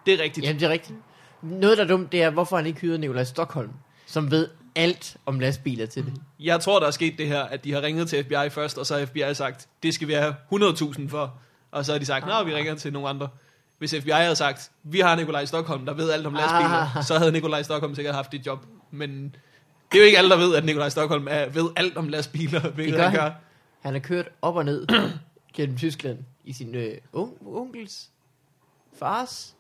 Det er rigtigt.
Jamen, det er rigtigt. Noget, der er dumt, det er, hvorfor han ikke hyrede Nikolaj Stockholm, som ved alt om lastbiler til det.
Jeg tror, der er sket det her, at de har ringet til FBI først, og så har FBI sagt, det skal vi have 100.000 for. Og så har de sagt, nej, vi ringer til nogle andre. Hvis FBI havde sagt, vi har Nikolaj Stockholm, der ved alt om lastbiler,
Ah.
så havde Nikolaj Stockholm sikkert haft et job. Men det er jo ikke alle, der ved, at Nikolaj Stockholm er, ved alt om lastbiler, hvilket
gør
han
han.
gør.
Han har kørt op og ned gennem Tyskland i sin øh, on- onkels, fars.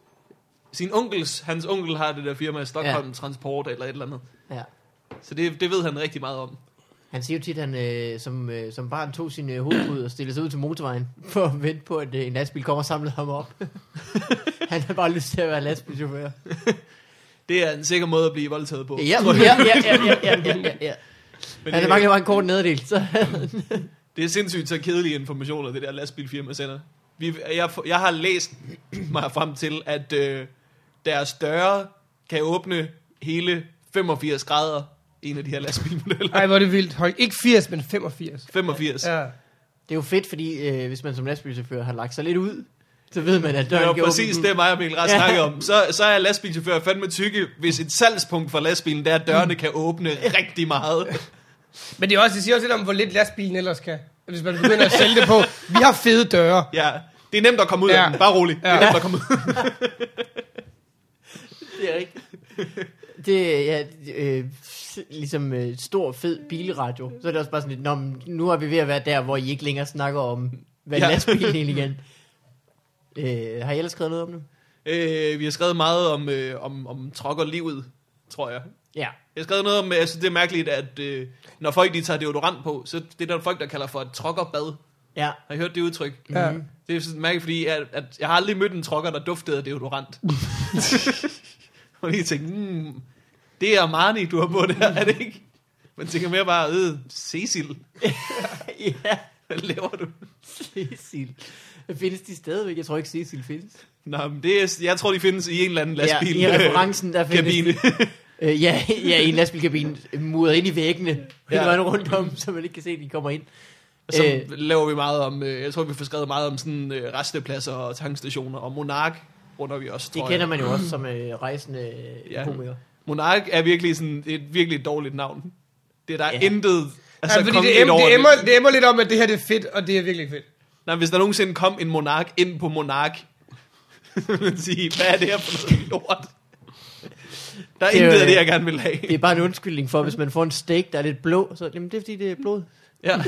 Sin onkels, hans onkel har det der firma i Stockholm ja. Transport eller et eller andet.
Ja.
Så det, det ved han rigtig meget om.
Han siger jo tit, at han øh, som, øh, som barn tog sin øh, hovedpude og stillede sig ud til motorvejen for at vente på, at øh, en lastbil kommer og samlede ham op. han har bare lyst til at være lastbilchauffør.
Det er en sikker måde at blive voldtaget på.
Ja, ja, ja, ja, ja, ja, ja, ja, ja.
Men
Han
det,
mangler bare en kort neddel. Så.
det er sindssygt så kedelige informationer, det der lastbilfirma sender. Vi, jeg, jeg har læst mig frem til, at øh, deres døre kan åbne hele 85 grader i en af de her lastbilmodeller.
Ej, hvor er det vildt. Hold, ikke 80, men 85.
85. Ja,
Ja.
Det er jo fedt, fordi øh, hvis man som lastbilchauffør har lagt sig lidt ud, så ved man, at
det
døren
var
kan
præcis
åbne.
det, mig og Mikkel Rask
Ja.
snakkede om. Så, så er lastbilchauffører fandme tykke, hvis et salgspunkt for lastbilen, der er, at dørene kan åbne rigtig meget.
Men det, er også, det siger også lidt om, hvor lidt lastbilen ellers kan. Hvis man begynder at sælge det på, vi har fede døre.
Ja, det er nemt at komme ud ja.
Ja.
af den. Bare rolig. Ja. Det
Ja.
er nemt at komme ud.
Det er rigtigt. Det er ja, øh, ligesom øh, stor, fed bilradio. Så er det også bare sådan lidt, Nå, men nu er vi ved at være der, hvor I ikke længere snakker om, hvad
Ja.
ja. lastbilen egentlig er. Øh, har I ellers skrevet noget om det?
Øh, vi har skrevet meget om, øh, om, om trokkerlivet, tror jeg.
Ja.
Jeg har skrevet noget om, altså det er mærkeligt, at øh, når folk de tager deodorant på, så det er der folk, der kalder for et trokkerbad.
Ja.
Har I hørt det udtryk?
Ja.
Det er sådan mærkeligt, fordi at, at jeg har aldrig mødt en trokker, der duftede af deodorant. Og lige tænkte, mm, det er Armani, du har på der, er det ikke? Man tænker mere bare, øh, Cecil,
ja.
hvad laver du?
Cecil. Findes de stadigvæk? Jeg tror ikke, Cecil findes.
Nå, men det er, jeg tror, de findes i en eller anden lastbil.
Ja, I referencen, der findes
kabine.
Øh, ja, ja, i en lastbilkabine, muret ind i væggene, hele
Ja.
vejen rundt om, så man ikke kan se, at de kommer ind.
Så
Øh.
øh, laver vi meget om, øh, jeg tror, vi får skrevet meget om sådan øh, restepladser og tankstationer, og Monark runder vi også,
Det
tror
kender
jeg.
man jo også som øh, rejsende
Ja.
ja. komiker.
Monark er virkelig sådan, det er et virkelig dårligt navn. Det er der
Ja.
ja. intet,
Altså,
altså
ja, fordi
kom
det,
lidt
em,
over
det, emmer, det emmer lidt om, at det her det er fedt, og det er virkelig ikke fedt.
Nej, hvis der nogensinde kom en monark ind på monark, ville man sige, hvad er det her for noget lort? Der er
Det er
intet
jo-
af det, jeg gerne vil have.
Det er bare en undskyldning for, hvis man får en steak, der er lidt blå, så jamen, det er fordi, det er blod.
Ja.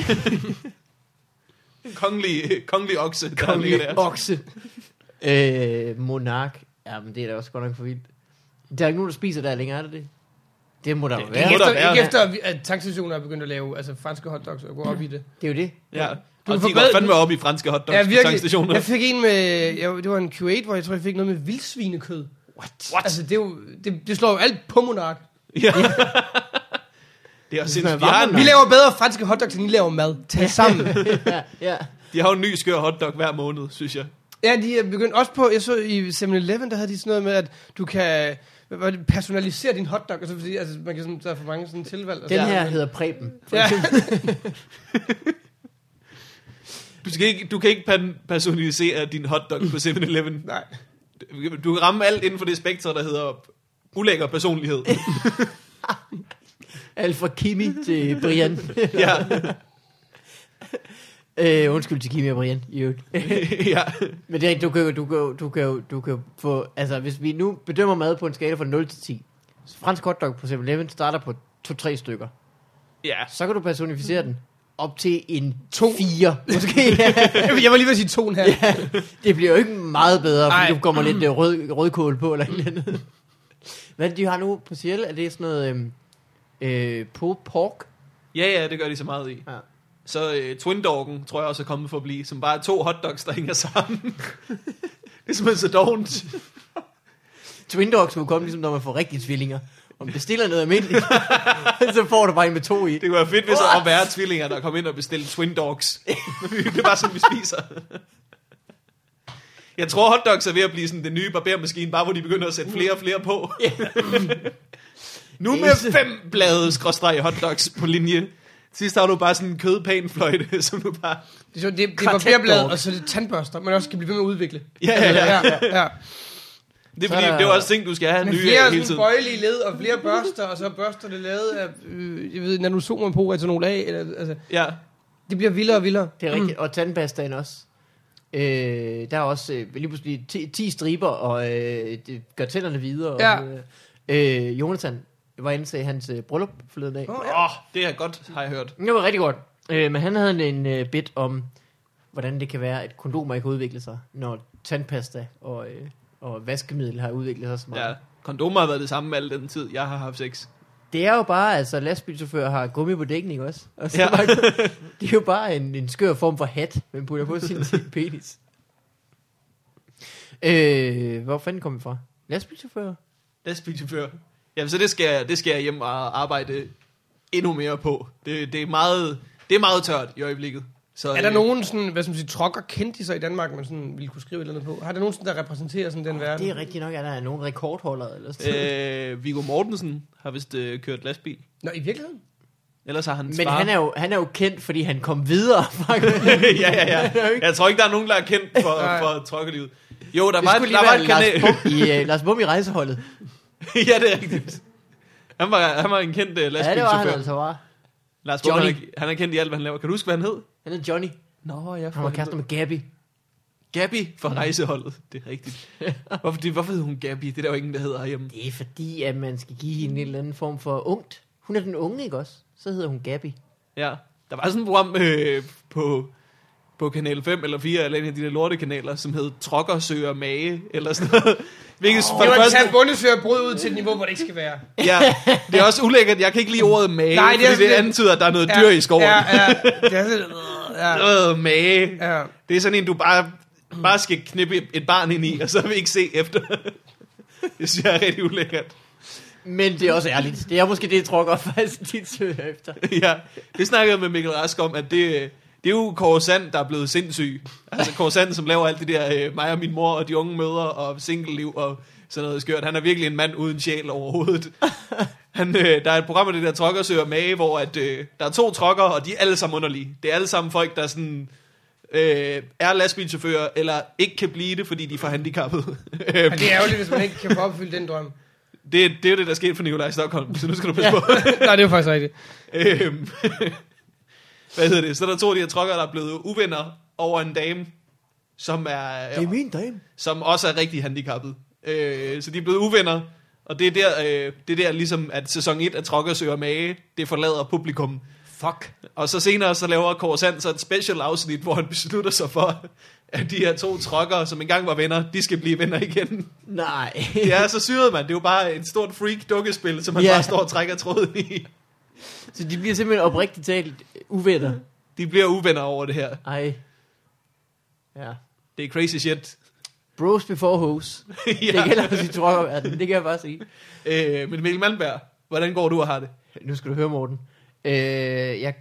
kongelig, kongelig okse, der ligger
Kongelig
der.
okse. øh, monark. Jamen, det er da også godt nok for vildt. Der er ikke nogen, der spiser der længere, er det det? Det må der jo
Ja,
være.
Ja,
må
efter,
der være.
ikke efter, at vi- at tankstationer er begyndt at lave altså, franske hotdogs og gå op i det.
Det er jo det.
Ja.
Du
Og
kan
de går
forbedre-
fandme op i franske hotdogs
Ja,
på
virkelig.
tankstationer.
Jeg fik en med, jeg, det var en Q8, hvor jeg tror, jeg fik noget med vildsvinekød.
What? What?
Altså, det, er jo, det, det slår jo alt på monark.
Ja. det er også
smager
sindssygt. De har,
varmt,
en,
Vi laver bedre franske hotdogs, end I laver mad. Tag sammen.
ja, ja.
de har jo en ny skør hotdog hver måned, synes jeg.
Ja, de er begyndt også på, jeg så i 7-Eleven, der havde de sådan noget med, at du kan hvad var det, personalisere din hotdog, altså, fordi, altså man kan sådan, der er for mange sådan tilvalg. og
Den
så-
her hedder Preben.
Ja,
Du, skal ikke, du kan ikke pan- personalisere din hotdog på 7-Eleven.
nej.
Du kan ramme alt inden for det spektrum, der hedder ulækker personlighed.
Alt fra Kimi til Brian.
ja.
øh, undskyld til Kimi og Brian, i øvrigt.
ja.
Men det er, rigtigt, du kan jo, du kan jo, du kan jo, du kan jo få, altså hvis vi nu bedømmer mad på en skala fra 0 til 10, så fransk hotdog på 7-Eleven starter på 2-3 stykker.
Ja.
Så kan du personificere den op til en
To.
4, måske. Ja.
Jeg var lige ved at sige to en halv.
ja. Det bliver jo ikke meget bedre, fordi
Ej.
Ej. du kommer lidt øh, rød, rødkål på eller et eller andet. Hvad er det, de har nu på Ciel? Er det sådan noget øhm, øh, pulled pork?
Ja, ja, det gør de så meget i.
Ja.
Så øh, Twin Doggen, tror jeg også er kommet for at blive, som bare er to hotdogs, der hænger sammen. det er simpelthen så dovent.
Twin Dogs må komme, ligesom når man får rigtige tvillinger. Om bestiller noget almindeligt, så får du bare en med to i.
Det kunne være fedt, hvis der var værre tvillinger, der kom ind og bestilte Twin Dogs. det er bare sådan, vi spiser. Jeg tror, hotdogs er ved at blive sådan den nye barbermaskine, bare hvor de begynder at sætte flere og flere på. nu med fem blade skråstreg hotdogs på linje. Sidst har du bare sådan en kødpanfløjte, som du bare...
Det er, sjovt, det, det er
Kvartetdog.
barberblad, og så er det tandbørster, man også skal blive ved med at udvikle.
Ja, ja, ja.
ja, ja.
Det er
Så
fordi,
er der-
det er jo også ting, du skal have
Men
nye
flere
af hele
sådan
tiden.
bøjelige led, og flere børster, og så er børsterne lavet af, øh, jeg ved, nanosomer på, altså nogle lag, eller, altså,
Ja.
det bliver vildere og vildere.
Det er rigtigt. Og tandpastaen også. Øh, der er også øh, lige pludselig 10 striber, og øh, det gør tænderne videre.
Ja.
Og, øh, øh, Jonathan var inde til hans øh, bryllup forleden dag.
Åh,
Oh.
Åh, oh, det er godt, har jeg hørt.
Det var rigtig godt. Øh, men han havde en, en øh, bit om, hvordan det kan være, at kondomer ikke har udviklet sig, når tandpasta og, øh, og vaskemiddel har udviklet sig så meget.
Ja. Kondomer har været det samme al den tid, jeg har haft sex.
Det er jo bare, altså lastbilchauffører har gummi på dækken, ikke også? Og så
Ja.
ja. bare, det er jo bare en, en skør form for hat, man putter på sin sin penis. Øh, hvor fanden kom vi fra? Lastbilchauffører?
Lastbilchauffør. Jamen, så det skal, jeg, det skal jeg hjem og arbejde endnu mere på. Det, det, er, meget, det er meget tørt i øjeblikket. Så,
Er der
øh,
nogen sådan, hvad skal man sige, trokker kendte sig i Danmark, man sådan ville kunne skrive et eller andet på? Har der nogen sådan, der repræsenterer sådan den oh, verden?
Det er rigtigt nok, at der er nogle rekordholdere eller sådan noget.
Øh, Viggo Mortensen har vist øh, kørt lastbil.
Nå, i virkeligheden?
Ellers har han
Men han er, jo, han er jo kendt, fordi han kom videre fra
ja, ja, ja. Jeg tror ikke, der er nogen, der er kendt for,
Nej.
for trokkelivet. Jo, der
Det
var,
skulle lige
der var
være
et kanal.
Lars Bum, i, uh, Lars Bum i rejseholdet.
ja, det er rigtigt. Han var, han var en kendt uh,
Ja, det var han
lastbilchauffør.
altså bare.
Lars Bum, han,
Johnny.
er- han er kendt i alt, hvad han laver. Kan du huske, hvad han hed?
Han er Johnny.
Nå, jeg
Han var kærester med Gabby.
Gabby
Mm.
fra rejseholdet. Det er rigtigt. Hvorfor, det, hvorfor hed hun Gabby? Det er der jo ingen, der hedder herhjemme.
Det er fordi, at man skal give hende en eller anden form for ungt. Hun er den unge, ikke også? Så hedder hun Gabby.
Ja. Der var sådan et program øh, på, på kanal 5 eller 4, eller en af de der lortekanaler, som hed Trokker søger mage, eller sådan noget. Hvilket oh, for
Det
det
var en
første...
tand bundesfører brød ud til et niveau, hvor det ikke skal være.
Ja, det er også ulækkert. Jeg kan ikke lide ordet mage,
Nej,
Nej,
det
det
er
fordi det
sådan-
antyder, at der er noget dyr i skoven.
Ja,
Ja,
ja. Det er sådan, ja,
ja. Øh, mage.
ja.
Det er sådan en, du bare, bare skal knippe et barn ind i, og så vil vi ikke se efter. det synes jeg er rigtig ulækkert.
Men det er også ærligt. Det er måske det, jeg tror godt faktisk tit søger efter.
ja, det snakkede jeg med Mikkel Rask om, at det, øh, det er jo Kåre Sand, der er blevet sindssyg. Altså Kåre Sand, som laver alt det der øh, mig og min mor og de unge mødre og single-liv og sådan noget skørt. Han er virkelig en mand uden sjæl overhovedet. Han, øh, der er et program af det der trokker søger mage, hvor at, øh, der er to trokker, og de er alle sammen underlige. Det er alle sammen folk, der sådan, øh, er lastbilchauffører, eller ikke kan blive det, fordi de er for handicappede. Øh,
Og det er ærgerligt, hvis man ikke kan få opfyldt den drøm.
det, det er jo det, der skete for Nikolaj Stockholm, så nu skal du passe på.
Nej, det er jo faktisk rigtigt.
Øhm, Hvad hedder det? Så er der to af de her trokker, der er blevet uvenner over en dame, som, er,
Det er min dame.
som også er rigtig handicappet. Øh, så de er blevet uvenner, og det er der, øh, det er der ligesom, at sæson 1 af Trokker søger mage, det forlader publikum.
Fuck.
Og så senere så laver Kåre Sand så et special afsnit, hvor han beslutter sig for, at de her to trokker, som engang var venner, de skal blive venner igen.
Nej.
Det er så syret, mand. Det er jo bare et stort freak-dukkespil, som man
Ja.
bare står og trækker tråden i.
Så de bliver simpelthen oprigtigt talt øh, uvenner.
De bliver uvenner over det her.
Ej. Ja.
Det er crazy shit.
Bros before hoes.
ja.
Det gælder også i trokkerverdenen, det kan jeg bare sige.
Øh, men Mikkel Malmberg, hvordan går du og har det?
Nu skal du høre, Morten. Øh, jeg, jeg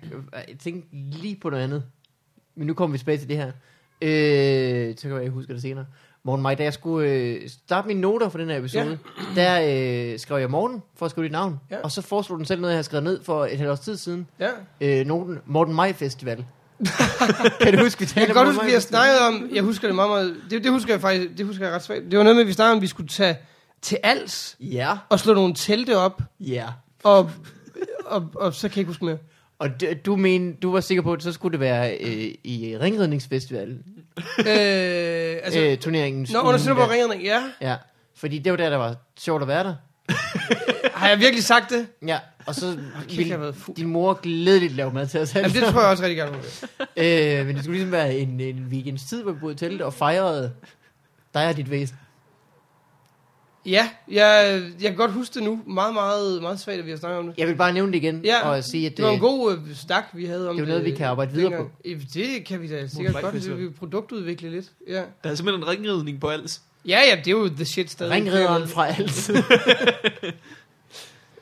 tænkte lige på noget andet. Men nu kommer vi tilbage til det her. Øh, så kan jeg huske det senere. Morten Maj, da jeg skulle øh, starte mine noter for den her episode, ja. der øh, skrev jeg Morten for at skrive dit navn.
Ja.
Ja. Og så foreslog den selv noget, jeg havde skrevet ned for et halvt års tid siden.
Ja.
Øh, noten Morten Maj Festival. kan du huske, vi talte
Jeg kan godt
om Morten Maj
huske, vi har
Festival?
snakket om, jeg husker det meget, meget det, det husker jeg faktisk, det husker jeg ret svagt. Det var noget med, at vi snakkede om, at vi skulle tage til Als
Ja,
og slå nogle telte op,
ja.
og, og, og så kan jeg ikke huske mere.
Og d- du, men, du var sikker på, at så skulle det være øh, i ringredningsfestivalen.
Øh, altså,
Altså, øh, turneringen.
Nå, under Sønderborg Ringerne, ja.
Ja, fordi det var der, der var sjovt at være der.
Har jeg virkelig sagt det?
Ja, og så
kæft, jeg har
ville
været fuld.
din mor glædeligt lave mad til os alle.
Jamen, det tror jeg også rigtig gerne. hun vil.
øh, men det skulle ligesom være en, en weekends tid, hvor vi boede i teltet og fejrede dig og dit væsen.
Ja, jeg, jeg kan godt huske det nu. Meget, meget, meget svagt, at vi har snakket om det.
Jeg vil bare nævne det igen
Ja,
og sige, at
Det var en
det,
god øh, snak, vi havde om
det er jo noget, vi kan arbejde videre
dengang. Øh, Det kan vi da sikkert
Mike
godt. Vi
Festival.
vil produktudvikle lidt. Ja.
Der er simpelthen en ringridning på alt.
ja, ja, det er jo the shit stadig.
ringridderen fra alt.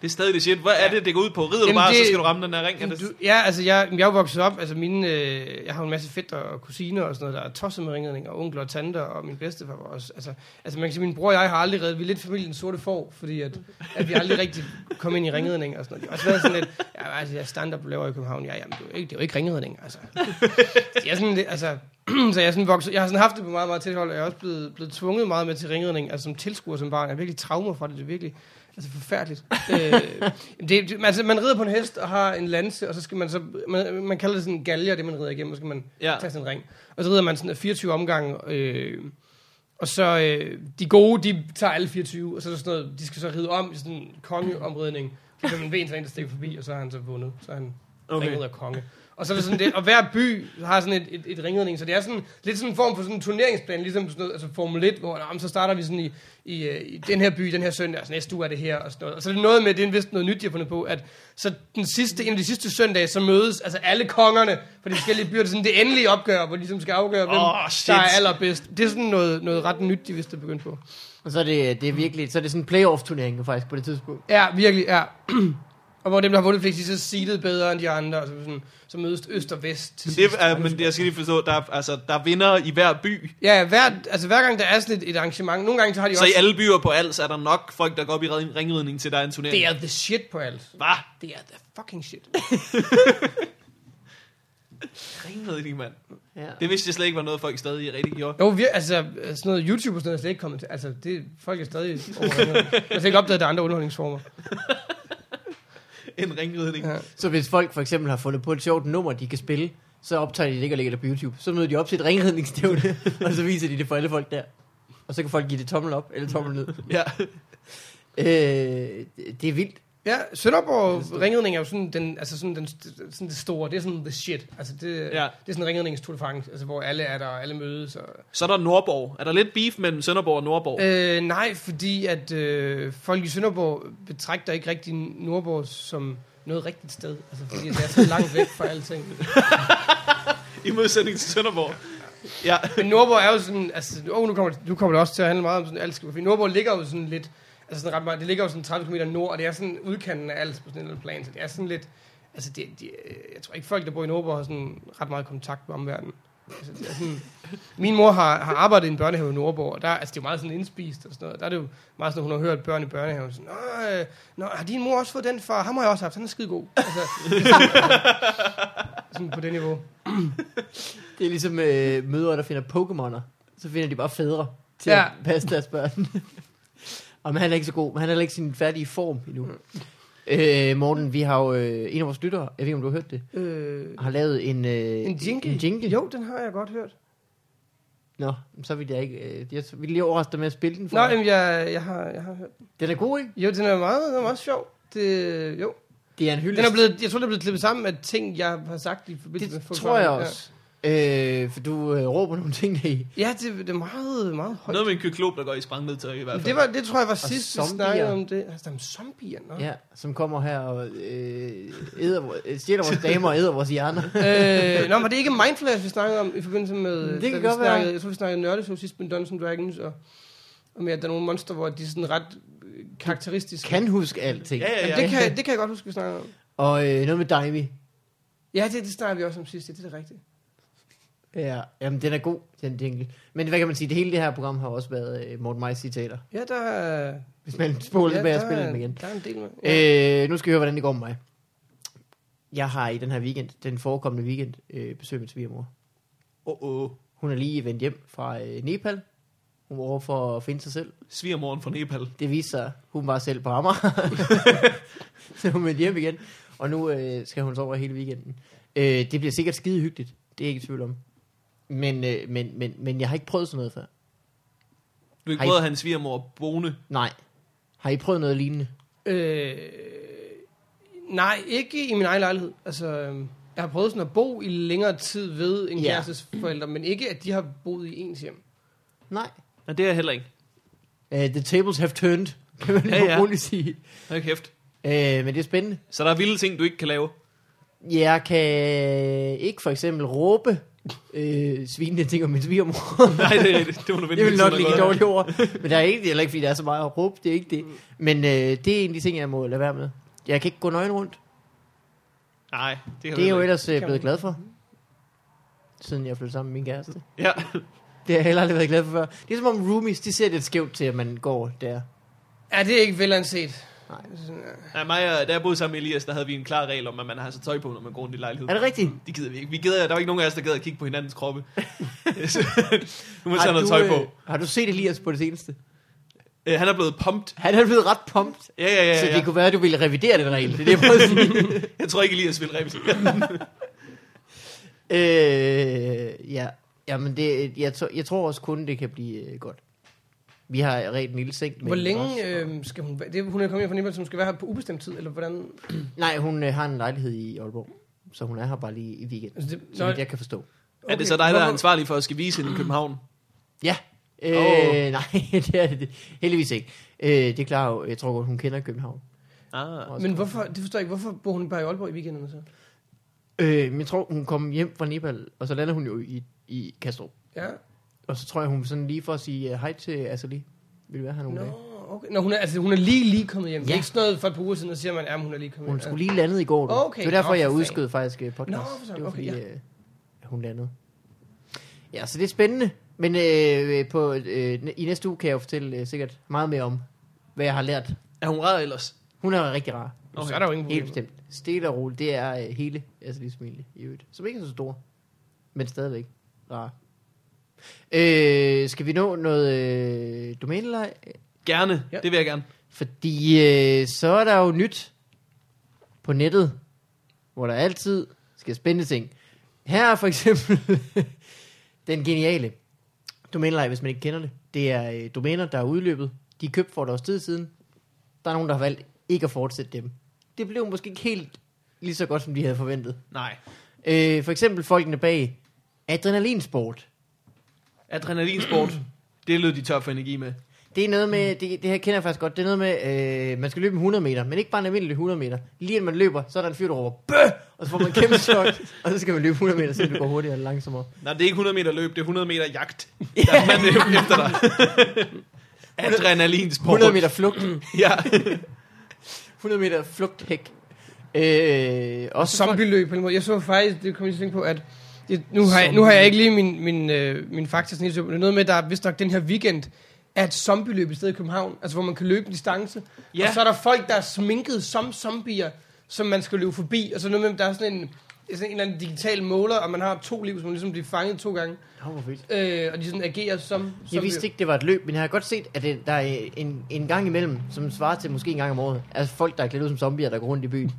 Det er stadig det shit. Hvad er det, det går ud på? Rider du
Jamen,
bare,
det-
så skal du ramme den her ring. Er det...
Du, ja, altså, jeg, jeg er jo vokset op. Altså, mine, øh, jeg har jo en masse fætter og kusiner og sådan noget, der er tosset med ringredning, og onkler og tanter, og min bedstefar var også. Altså, altså man kan sige, min bror og jeg har aldrig reddet. Vi er lidt familien sorte får, fordi at, at vi aldrig rigtig kom ind i ringredning og sådan noget. Det har også været sådan lidt, ja, altså, jeg stand-up laver i København. Ja, jamen, det er jo ikke, det er jo ikke ringredning, altså. Jeg er sådan lidt, altså, så jeg, er sådan vokset, jeg har sådan haft det på meget, meget tæt hold, og jeg er også blevet, blevet tvunget meget med til ringredning, altså som tilskuer som barn. Jeg er virkelig traumer fra det, det er virkelig altså forfærdeligt. øh, jamen, det, det, altså, man rider på en hest og har en lanse, og så skal man så, man, man kalder det sådan en galger, det man rider igennem, og så skal man
Ja.
tage sådan en ring. Og så rider man sådan 24 omgange, øh, og så øh, de gode, de tager alle 24, og så er der sådan noget, de skal så ride om i sådan en kongeomridning. Så kan man ved en, så er en, der stikker forbi, og så har han så vundet. Så er han okay.
Okay.
ringet af konge. Og så er det sådan det, og hver by har sådan et, et, et ringredning, så det er sådan lidt sådan en form for sådan en turneringsplan, ligesom sådan noget, altså Formel 1, hvor jamen, så starter vi sådan i, i, øh, i den her by, den her søndag, altså næste uge er det her, og sådan noget. Og så er det noget med, det er vist noget nyt, de har fundet på, at så den sidste, en af de sidste søndage, så mødes altså alle kongerne fra de forskellige byer, det er sådan det endelige opgør, hvor de ligesom skal afgøre, hvem
Åh,
oh,
shit.
der er allerbedst. Det er sådan noget, noget ret nyt, de vist er begyndt på.
Og så er det, det er virkelig, så er det sådan en playoff-turnering faktisk på det tidspunkt.
Ja, virkelig, ja. og hvor dem, der har vundet flest, de er så seedet bedre end de andre, og så, sådan, så mødes øst og vest til
Det
sidst.
er, men jeg skal lige forstå, der er, altså, der er vinder i hver by.
Ja, hver, altså hver gang der er sådan et, et arrangement, nogle gange så har de
Så i
også...
alle byer på Als er der nok folk, der går op i ring- ringridning til, der er en turnering.
Det er the shit på alt.
Hvad?
Det er the fucking shit.
Ringridning, mand.
Ja.
Det vidste jeg slet ikke var noget, folk stadig rigtig gjorde.
Jo, vi, altså sådan noget YouTube og sådan noget er slet ikke kommet til. Altså, det, folk er stadig overrasket. Jeg har slet ikke opdaget, at der er andre underholdningsformer.
En ringridning.
Ja.
Så hvis folk for eksempel har fundet på et sjovt nummer, de kan spille, så optager de det ikke og lægger det på YouTube. Så møder de op til et ringredningsstævne, og så viser de det for alle folk der. Og så kan folk give det tommel op eller tommel ned.
Ja.
Øh, det er vildt.
Ja, Sønderborg ringridning er jo sådan, den, altså sådan, den, sådan det store. Det er sådan the shit. Altså, det, ja. det er sådan ringridningens Tour de France, altså, hvor alle er der, og alle mødes. Og...
Så er der Nordborg. Er der lidt beef mellem Sønderborg og Nordborg?
Øh, nej, fordi at øh, folk i Sønderborg betragter ikke rigtig Nordborg som noget rigtigt sted. Altså, fordi det er så langt væk fra alting.
I modsætning til Sønderborg. Ja.
Men Nordborg er jo sådan, altså, oh, nu, kommer det, nu kommer det også til at handle meget om sådan alt, fordi Nordborg ligger jo sådan lidt, altså sådan ret meget, det ligger jo sådan 30 km nord, og det er sådan udkanten af alt på sådan en eller anden plan, så det er sådan lidt, altså det, det, jeg tror ikke folk, der bor i Nordborg, har sådan ret meget kontakt med omverdenen. Altså, det er sådan, min mor har, har arbejdet i en børnehave i Nordborg, og der, altså, det er jo meget sådan indspist og sådan noget. Der er det jo meget sådan, at hun har hørt børn i børnehaven. Sådan, "Nå, øh, nå, har din mor også fået den far? Ham har jeg også haft, han er skide god. Altså, sådan på det niveau.
Det er ligesom øh, mødre, der finder Pokémoner. Så finder de bare fædre til ja.
Ja.
at passe deres børn. og men han er ikke så god, men han er heller ikke i sin færdige form endnu.
Mm.
Øh, Morten, vi har jo øh, en af vores lyttere, jeg ved ikke om du har hørt det,
Øh,
har lavet en, øh,
en jingle?
En jingle.
Jo, den har jeg godt hørt.
Nå, så vil jeg ikke... Øh, jeg vil lige overraske dig med at spille den for
Nå,
dig.
jamen, jeg, jeg, har, jeg har hørt.
Den er god, ikke?
Jo, den er meget, den er meget sjov. Det, jo.
Det er en hyldest.
Den er blevet, jeg tror, den er blevet klippet sammen med ting, jeg har sagt i forbindelse med
det
Fugt
tror jeg
Barnet.
også. Ja. Øh, for du øh, råber nogle ting i.
Ja, ja det, det, er meget, meget højt.
Noget med en kyklop, der går i sprangmedtag i hvert
Men
fald.
Det, var, det tror jeg var sidst, vi
zombier.
snakkede om det. Altså, der er zombier, nå.
Ja, som kommer her og øh, æder, vor- øh, stjæler vores damer og æder vores hjerner.
øh, nå, var det ikke Mindflash, vi snakkede om i forbindelse med...
Det
da
kan
vi
godt være.
snakkede, Jeg tror, vi snakkede nørdeshow sidst med Dungeons and Dragons, og, og med, at der er nogle monster, hvor de er sådan ret øh, karakteristiske.
Kan huske alting.
Ja, ja,
Jamen,
ja.
det, kan, det kan jeg godt huske, vi snakkede om.
Og øh, noget med Daimi.
Ja, det, det snakkede vi også om sidst, ja, det er det rigtige.
Ja, jamen den er god, den jingle. Men hvad kan man sige, det hele det her program har også været øh, Morten Majs citater.
Ja, der er...
Hvis man spoler tilbage og spiller
der, er-
dem igen.
der er en del med.
Øh, nu skal vi høre, hvordan det går med mig. Jeg har i den her weekend, den forekommende weekend, øh, besøg min svigermor.
Åh, oh, oh.
Hun er lige vendt hjem fra øh, Nepal. Hun var over for at finde sig selv.
Svigermoren fra Nepal.
Det viste sig, hun var selv på Amager. så hun vendte hjem igen. Og nu øh, skal hun sove hele weekenden. Øh, det bliver sikkert skide hyggeligt. Det er jeg ikke i tvivl om. Men, øh, men, men, men jeg har ikke prøvet sådan noget før.
Du har ikke
Hej.
prøvet at have en svigermor boende.
Nej. Har I prøvet noget lignende?
Øh, nej, ikke i min egen lejlighed. Altså, øhm, jeg har prøvet sådan at bo i længere tid ved en
Ja.
yeah. kærestes forældre, men ikke at de har boet i ens hjem.
Nej.
Men det er jeg heller ikke.
Øh, the tables have turned, kan man
Ja, ja.
ja, roligt sige.
Hold kæft.
Øh, men det er spændende.
Så der er vilde ting, du ikke kan lave.
Jeg kan ikke for eksempel råbe øh, svinende ting om min svigermor.
Nej, det, det, det må du vente
Det vil
til,
nok
der
ligge
er
et
gået.
dårligt ord. Men der er ikke, det er heller ikke, fordi der er så meget at råbe. Det er ikke det. Men øh, det er en af de ting, jeg må lade være med. Jeg kan ikke gå nøgen rundt.
Nej, det,
Det er jo
ikke.
ellers øh, blevet glad for. Siden jeg flyttede sammen med min kæreste.
Ja.
Det har jeg heller aldrig været glad for før. Det er som om roomies, de ser lidt skævt til, at man går der.
Er det ikke velanset?
Nej.
ja mig og, da jeg boede sammen med Elias, der havde vi en klar regel om, at man har så tøj på, når man går rundt i lejligheden.
Er det rigtigt?
Det gider vi ikke. Vi gider, der var ikke nogen af os, der gider at kigge på hinandens kroppe. Så- nu må man
Har
tage noget
du,
tøj på.
øh, Har du set Elias på det seneste?
Øh, han er blevet pumped.
Han er blevet ret pumped.
Ja, ja, ja.
Så
ja.
det kunne være, at du ville revidere den regel. Det er det, jeg prøver at sige.
Jeg tror ikke, Elias vil ræbe
øh, ja. Jamen, det, jeg, tror- jeg tror også kun, det kan blive øh, godt. Vi har ret en lille seng.
Hvor
mellem os,
længe
og-
øh, skal hun være? Det, er- hun er kommet hjem fra Nepal, som skal være her på ubestemt tid, eller hvordan?
Nej, hun øh, har en lejlighed i Aalborg. så hun er her bare lige i weekenden,
Altså, det-
så
nej.
vidt jeg kan forstå.
Okay. Er det så dig, der er ansvarlig for at skal vise hende i København?
Ja. Øh,
Åh.
Nej, det er det heldigvis ikke. Øh, det klarer jo, jeg tror godt, hun kender København.
Ah.
Også
Men hvorfor, det forstår jeg ikke, hvorfor bor hun bare i Aalborg i weekenderne så?
Øh, men jeg tror, hun kom hjem fra Nepal, og så lander hun jo i, i Kastrup.
Ja,
Og så tror jeg, hun sådan lige for at sige øh, hej til Azali. Vil du være her nogle
nå,
dage?
okay. Nå, hun er, altså, hun er lige, lige kommet hjem. Ja. Det er
Ja.
ikke sådan noget for et par uger siden, der siger man, at hun er lige kommet
Hun
hjem.
skulle lige landet i går. du.
Okay,
Det var derfor,
nå,
jeg
for
udskød faktisk øh, podcast.
Nå, for sådan,
det var
okay,
fordi,
ja.
øh, at hun landede. Ja, så det er spændende. Men øh, på, øh, i næste uge kan jeg jo fortælle øh, sikkert meget mere om, hvad jeg har lært.
Er hun rar ellers?
Hun er rigtig rar.
Okay.
Okay.
Så er der jo ingen
Helt
problemer.
bestemt. Stille og roligt. Det er øh, hele Azalis familie i øvrigt. Som ikke er så stor. Men stadigvæk rar. Øh, skal vi nå noget øh, domænelej?
Gerne.
Ja.
Ja. Det vil jeg gerne.
Fordi øh, så er der jo nyt på nettet, hvor der altid sker spændende ting. Her er for eksempel den geniale domæneleje, hvis man ikke kender det. Det er øh, domæner, der er udløbet. De er købt for et års tid siden. Der er nogen, der har valgt ikke at fortsætte dem. Det blev måske ikke helt lige så godt, som de havde forventet.
Nej.
Øh, for eksempel folkene bag Adrenalinsport.
Adrenalinsport. det lød de tør for energi med.
Det er noget med, det, det her kender jeg faktisk godt, det er noget med, øh, man skal løbe en 100 meter, men ikke bare en almindelig 100 meter. Lige inden man løber, så er der en fyr, der råber, Bøh! og så får man en kæmpe chok, og så skal man løbe 100 meter, så det går hurtigere eller langsommere.
Nej, det er ikke 100 meter løb, det er 100 meter jagt. Der er mand løb efter dig. Adrenalinsport.
100 meter flugt,
Ja.
100 meter flugthæk. Øh,
Og
også folk,
zombieløb på en måde. Jeg så faktisk, det kom jeg til at tænke på, at det, nu, har jeg, nu har jeg ikke lige min, min, øh, min fakta sådan helt til, men det er noget med, der er vist nok den her weekend, er et zombieløb i stedet i København, altså hvor man kan løbe en distance, ja.
Ja.
og så er der folk, der er sminket som zombier, som man skal løbe forbi, og så noget med, at der er sådan en, sådan en eller anden digital måler, og man har to liv, som man ligesom bliver fanget to gange,
Nå, hvor vildt.
øh, og de sådan agerer som
jeg
zombier.
vidste ikke, det var et løb, men jeg har godt set, at det, der er en, en gang imellem, som svarer til måske en gang om året, altså folk, der er klædt ud som zombier, der går rundt i byen.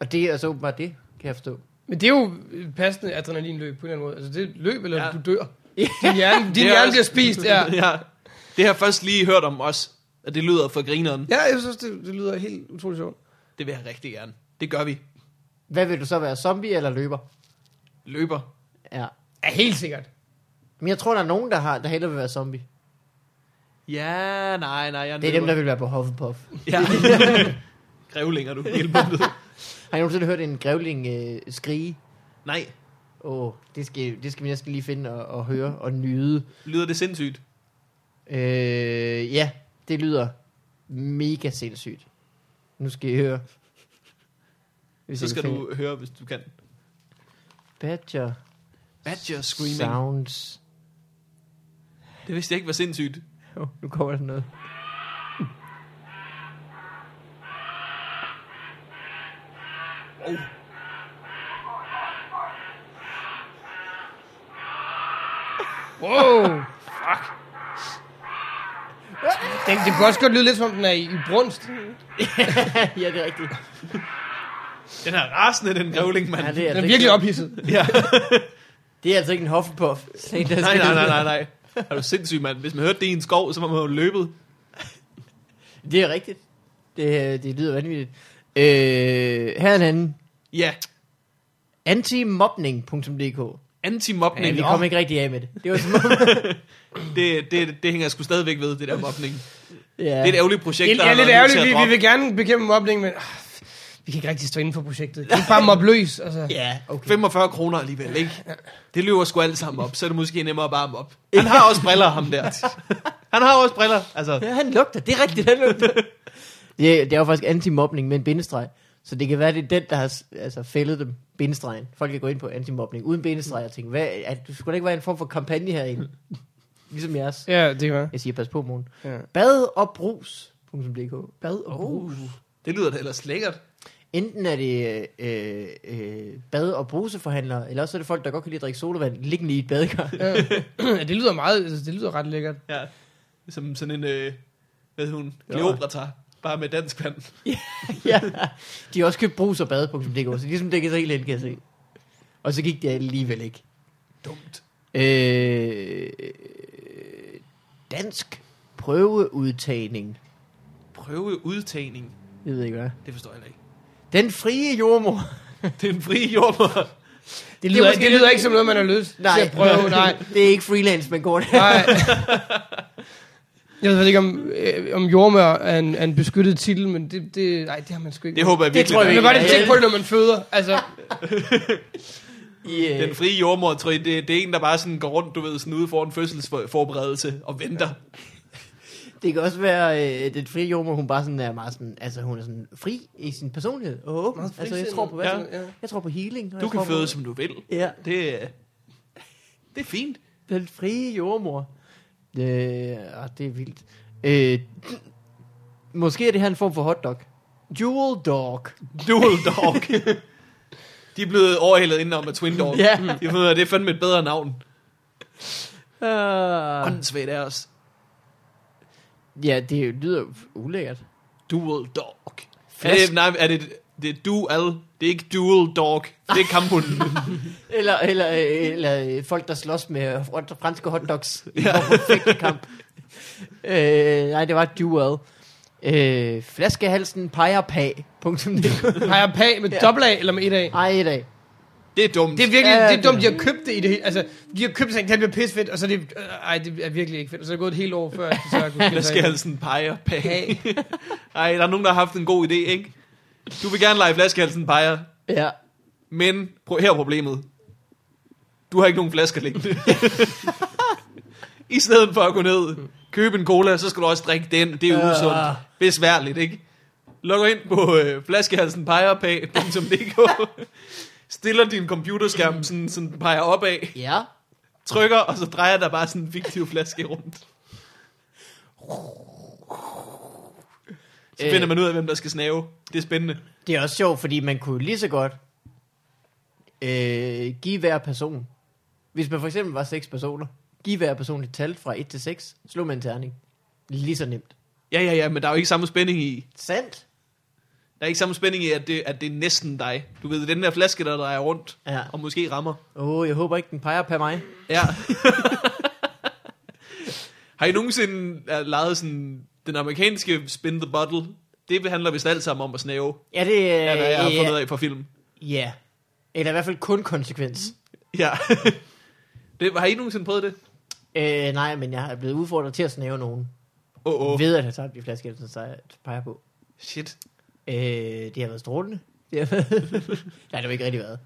Og det er så åbenbart det, kan jeg forstå.
Men det er jo øh, passende adrenalinløb på en eller anden måde. Altså det er et løb, eller ja.
Ja.
du dør. Din hjerne, din
Det er
hjerne
også-
bliver spist, ja.
ja. Det har jeg først lige hørt om os, og det lyder for grineren.
Ja, jeg synes, det, det lyder helt utroligt sjovt.
Det vil jeg rigtig gerne. Det gør vi.
Hvad vil du så være, zombie eller løber?
Løber.
Ja.
Ja, helt sikkert.
Men jeg tror, der er nogen, der, har, der hellere vil være zombie.
Ja, nej, nej. Jeg
Det er dem, der vil være på Hufflepuff.
Ja. Grævlinger, du. Hele bundet.
Har I nogensinde hørt en grævling øh, skrige?
Nej.
Åh, oh, det, skal, det skal vi næsten lige finde og, og høre og nyde.
Lyder det sindssygt?
Øh, ja, det lyder mega sindssygt. Nu skal I høre. Hvis
Så
jeg
skal
kan finde-
du høre, hvis du kan.
Badger
Badger screaming.
sounds.
Det vidste jeg ikke var sindssygt.
Oh, nu kommer der noget.
Oh.
Wow! Fuck! Den, det kunne også godt lyde lidt som om den er i, i brunst.
ja, det er rigtigt.
Den er rasende, den grævling, mand.
Ja,
Ja,
det er,
Den
altså
er virkelig
ikke,
ophidset.
ja.
det er altså ikke en Hufflepuff. Nej,
Nej, nej, nej, nej, nej. Er du sindssyg, mand? Hvis man hørte det i en skov, så var man jo løbet.
Det er rigtigt. Det, det lyder vanvittigt. Øh, her er en anden.
Ja,
Antimobning.dk
anti-mobning.
Men vi kom ikke rigtig af med det. Det var som om...
det, det, det hænger jeg sgu stadigvæk ved, det der mobning.
ja.
Det er et ærgerligt projekt,
Det
der
er
har været
lidt
nødt
ærgerligt,
til at
vi, vi
droppe.
vil gerne bekæmpe mobning, men ah, vi kan ikke rigtig stå inden for projektet. Kan vi ikke bare mobbe løs? Altså.
Ja, okay.
45 kroner alligevel, ikke? Det løber sgu alle sammen op, så er det måske nemmere at bare ham op. Han har også briller, ham der. Han har også briller, altså.
Ja, han lugter. Det er rigtigt, han lugter. det, er, det er jo faktisk antimobning med en bindestreg. Så det kan være, det er den, der har s- altså, fældet dem. Bindestregen. Folk kan gå ind på antimobning uden bindestreg og tænke, hvad, at du skulle da ikke være en form for kampagne herinde. ligesom jeres.
Ja, det kan være.
Jeg siger, pas på morgen.
Ja.
Bad og brus.dk Bad og
Uh, det lyder da ellers lækkert.
Enten er det øh, øh, bad- og bruseforhandlere, eller også er det folk, der godt kan lide at drikke sodavand liggende i et badekar.
Ja, det lyder meget, altså, det lyder ret lækkert.
Ja. Som sådan en, øh, hvad hed hun, Cleopatra. Bare med dansk vand.
ja. De har også købt brus og bade.dk, så ligesom dækket sig helt ind, kan jeg se. Og så gik det alligevel ikke.
Dumt.
Øh, dansk prøveudtagning.
Prøve udtagning.
Jeg ved ikke hvad.
Det forstår jeg heller ikke.
Den frie jordmor.
Den frie jordmor.
Det lyder, det, måske, det lyder ikke som noget, man har lyst til
Nej,
at prøve. Nej,
det er ikke freelance, man går der.
nej. Jeg ved faktisk ikke, om, øh, om jordmør er en, er en beskyttet titel, men det, det, nej, det har man sgu ikke.
Det håber jeg
Det
virkelig.
tror jeg
der
man
er.
kan
ikke.
godt ikke tænke på det, når man føder. Altså,
I, øh,
Den frie jordmor, tror jeg, det, det er en, der bare sådan går rundt, du ved, sådan ude for en fødselsforberedelse og venter.
Det kan også være, øh, den frie jordmor, hun bare sådan er meget sådan, altså hun er sådan fri i sin personlighed og åben. Altså jeg tror på, hvad,
Ja.
ja. jeg tror på healing. og
Du
jeg
kan
tror
føde,
på,
som du vil.
Ja,
Det, er- det er fint.
den frie jordmor. Øh, ah, det er vildt. Øh, måske er det her en form for hotdog. Jewel dog.
Dual dog. De er blevet overhældet indenom af Twin Dog.
Ja.
De har fundet ud af, det er fandme et bedre navn.
Uh,
Åndssvagt er os.
ja, det lyder jo ulækkert.
Dual dog. Er
Flask-
det, nej, er det, det er dual. Det er ikke dual dog. Det er kamphunden.
Eller, eller, øh, eller øh, folk, der slås med øh, frans- franske hotdogs i
Ja.
ja. kamp. øh, nej, det var et duel. Øh, flaskehalsen peger pag. Punktum DK.
har jeg pag med
Ja. Ah.
dobbelt A eller med et A?
Ej, i dag.
Det er dumt.
Det er virkelig
Ja, det-
det er dumt, de har købt det i det hele. Altså, de har købt sådan, det bliver pissefedt, og så er det, øh, ej, det er virkelig ikke fedt. Og så er det gået et helt år før, at de så har kunnet
Hvad
finde sig
skal altså-
af.
jeg sådan peger? Pag.
Pag.
Ej, der er nogen, der har haft en god idé, ikke? Du vil gerne lege flaskehalsen peger,
Ja.
men pro- her er problemet. Du har ikke nogen flasker liggende. I stedet for at gå ned, købe en cola, så skal du også drikke den. Det er
Ah.
usundt. Besværligt, ikke? Logger ind på øh, flaskehalsenpegerpag.dk Stiller din computerskærm, sådan, sådan den peger opad,
Ja.
trykker, og så drejer der bare sådan en fiktiv flaske rundt. Så
Øh.
finder man ud af, hvem der skal snave. Det er spændende.
Det er også sjovt, fordi man kunne lige så godt øh, give hver person. Hvis man for eksempel var seks personer, give hver person et tal fra 1 til 6, slog man en terning. Lige så nemt.
Ja, ja, ja, men der er jo ikke samme spænding i.
Sandt?
Der er ikke samme spænding i, at det, at det er næsten dig. Du ved, den der flaske, der drejer rundt,
Ja.
og måske rammer.
Åh, oh, jeg håber ikke, den peger på mig.
Ja. har I nogensinde øh, leget sådan den amerikanske spin the bottle? Det handler vist alt sammen om at snave,
Ja, det øh,
er hvad jeg har
ja.
fundet ud af fra film.
Ja. Eller i hvert fald kun konsekvens.
Ja. det, har I nogensinde prøvet det?
Øh, nej, men jeg er blevet udfordret til at snæve nogen.
Åh, oh,
Oh.
oh.
Ved at have tabt de flasker, som jeg peger på.
Shit.
Øh, det har været strålende. Det har været... nej, det har ikke rigtig været.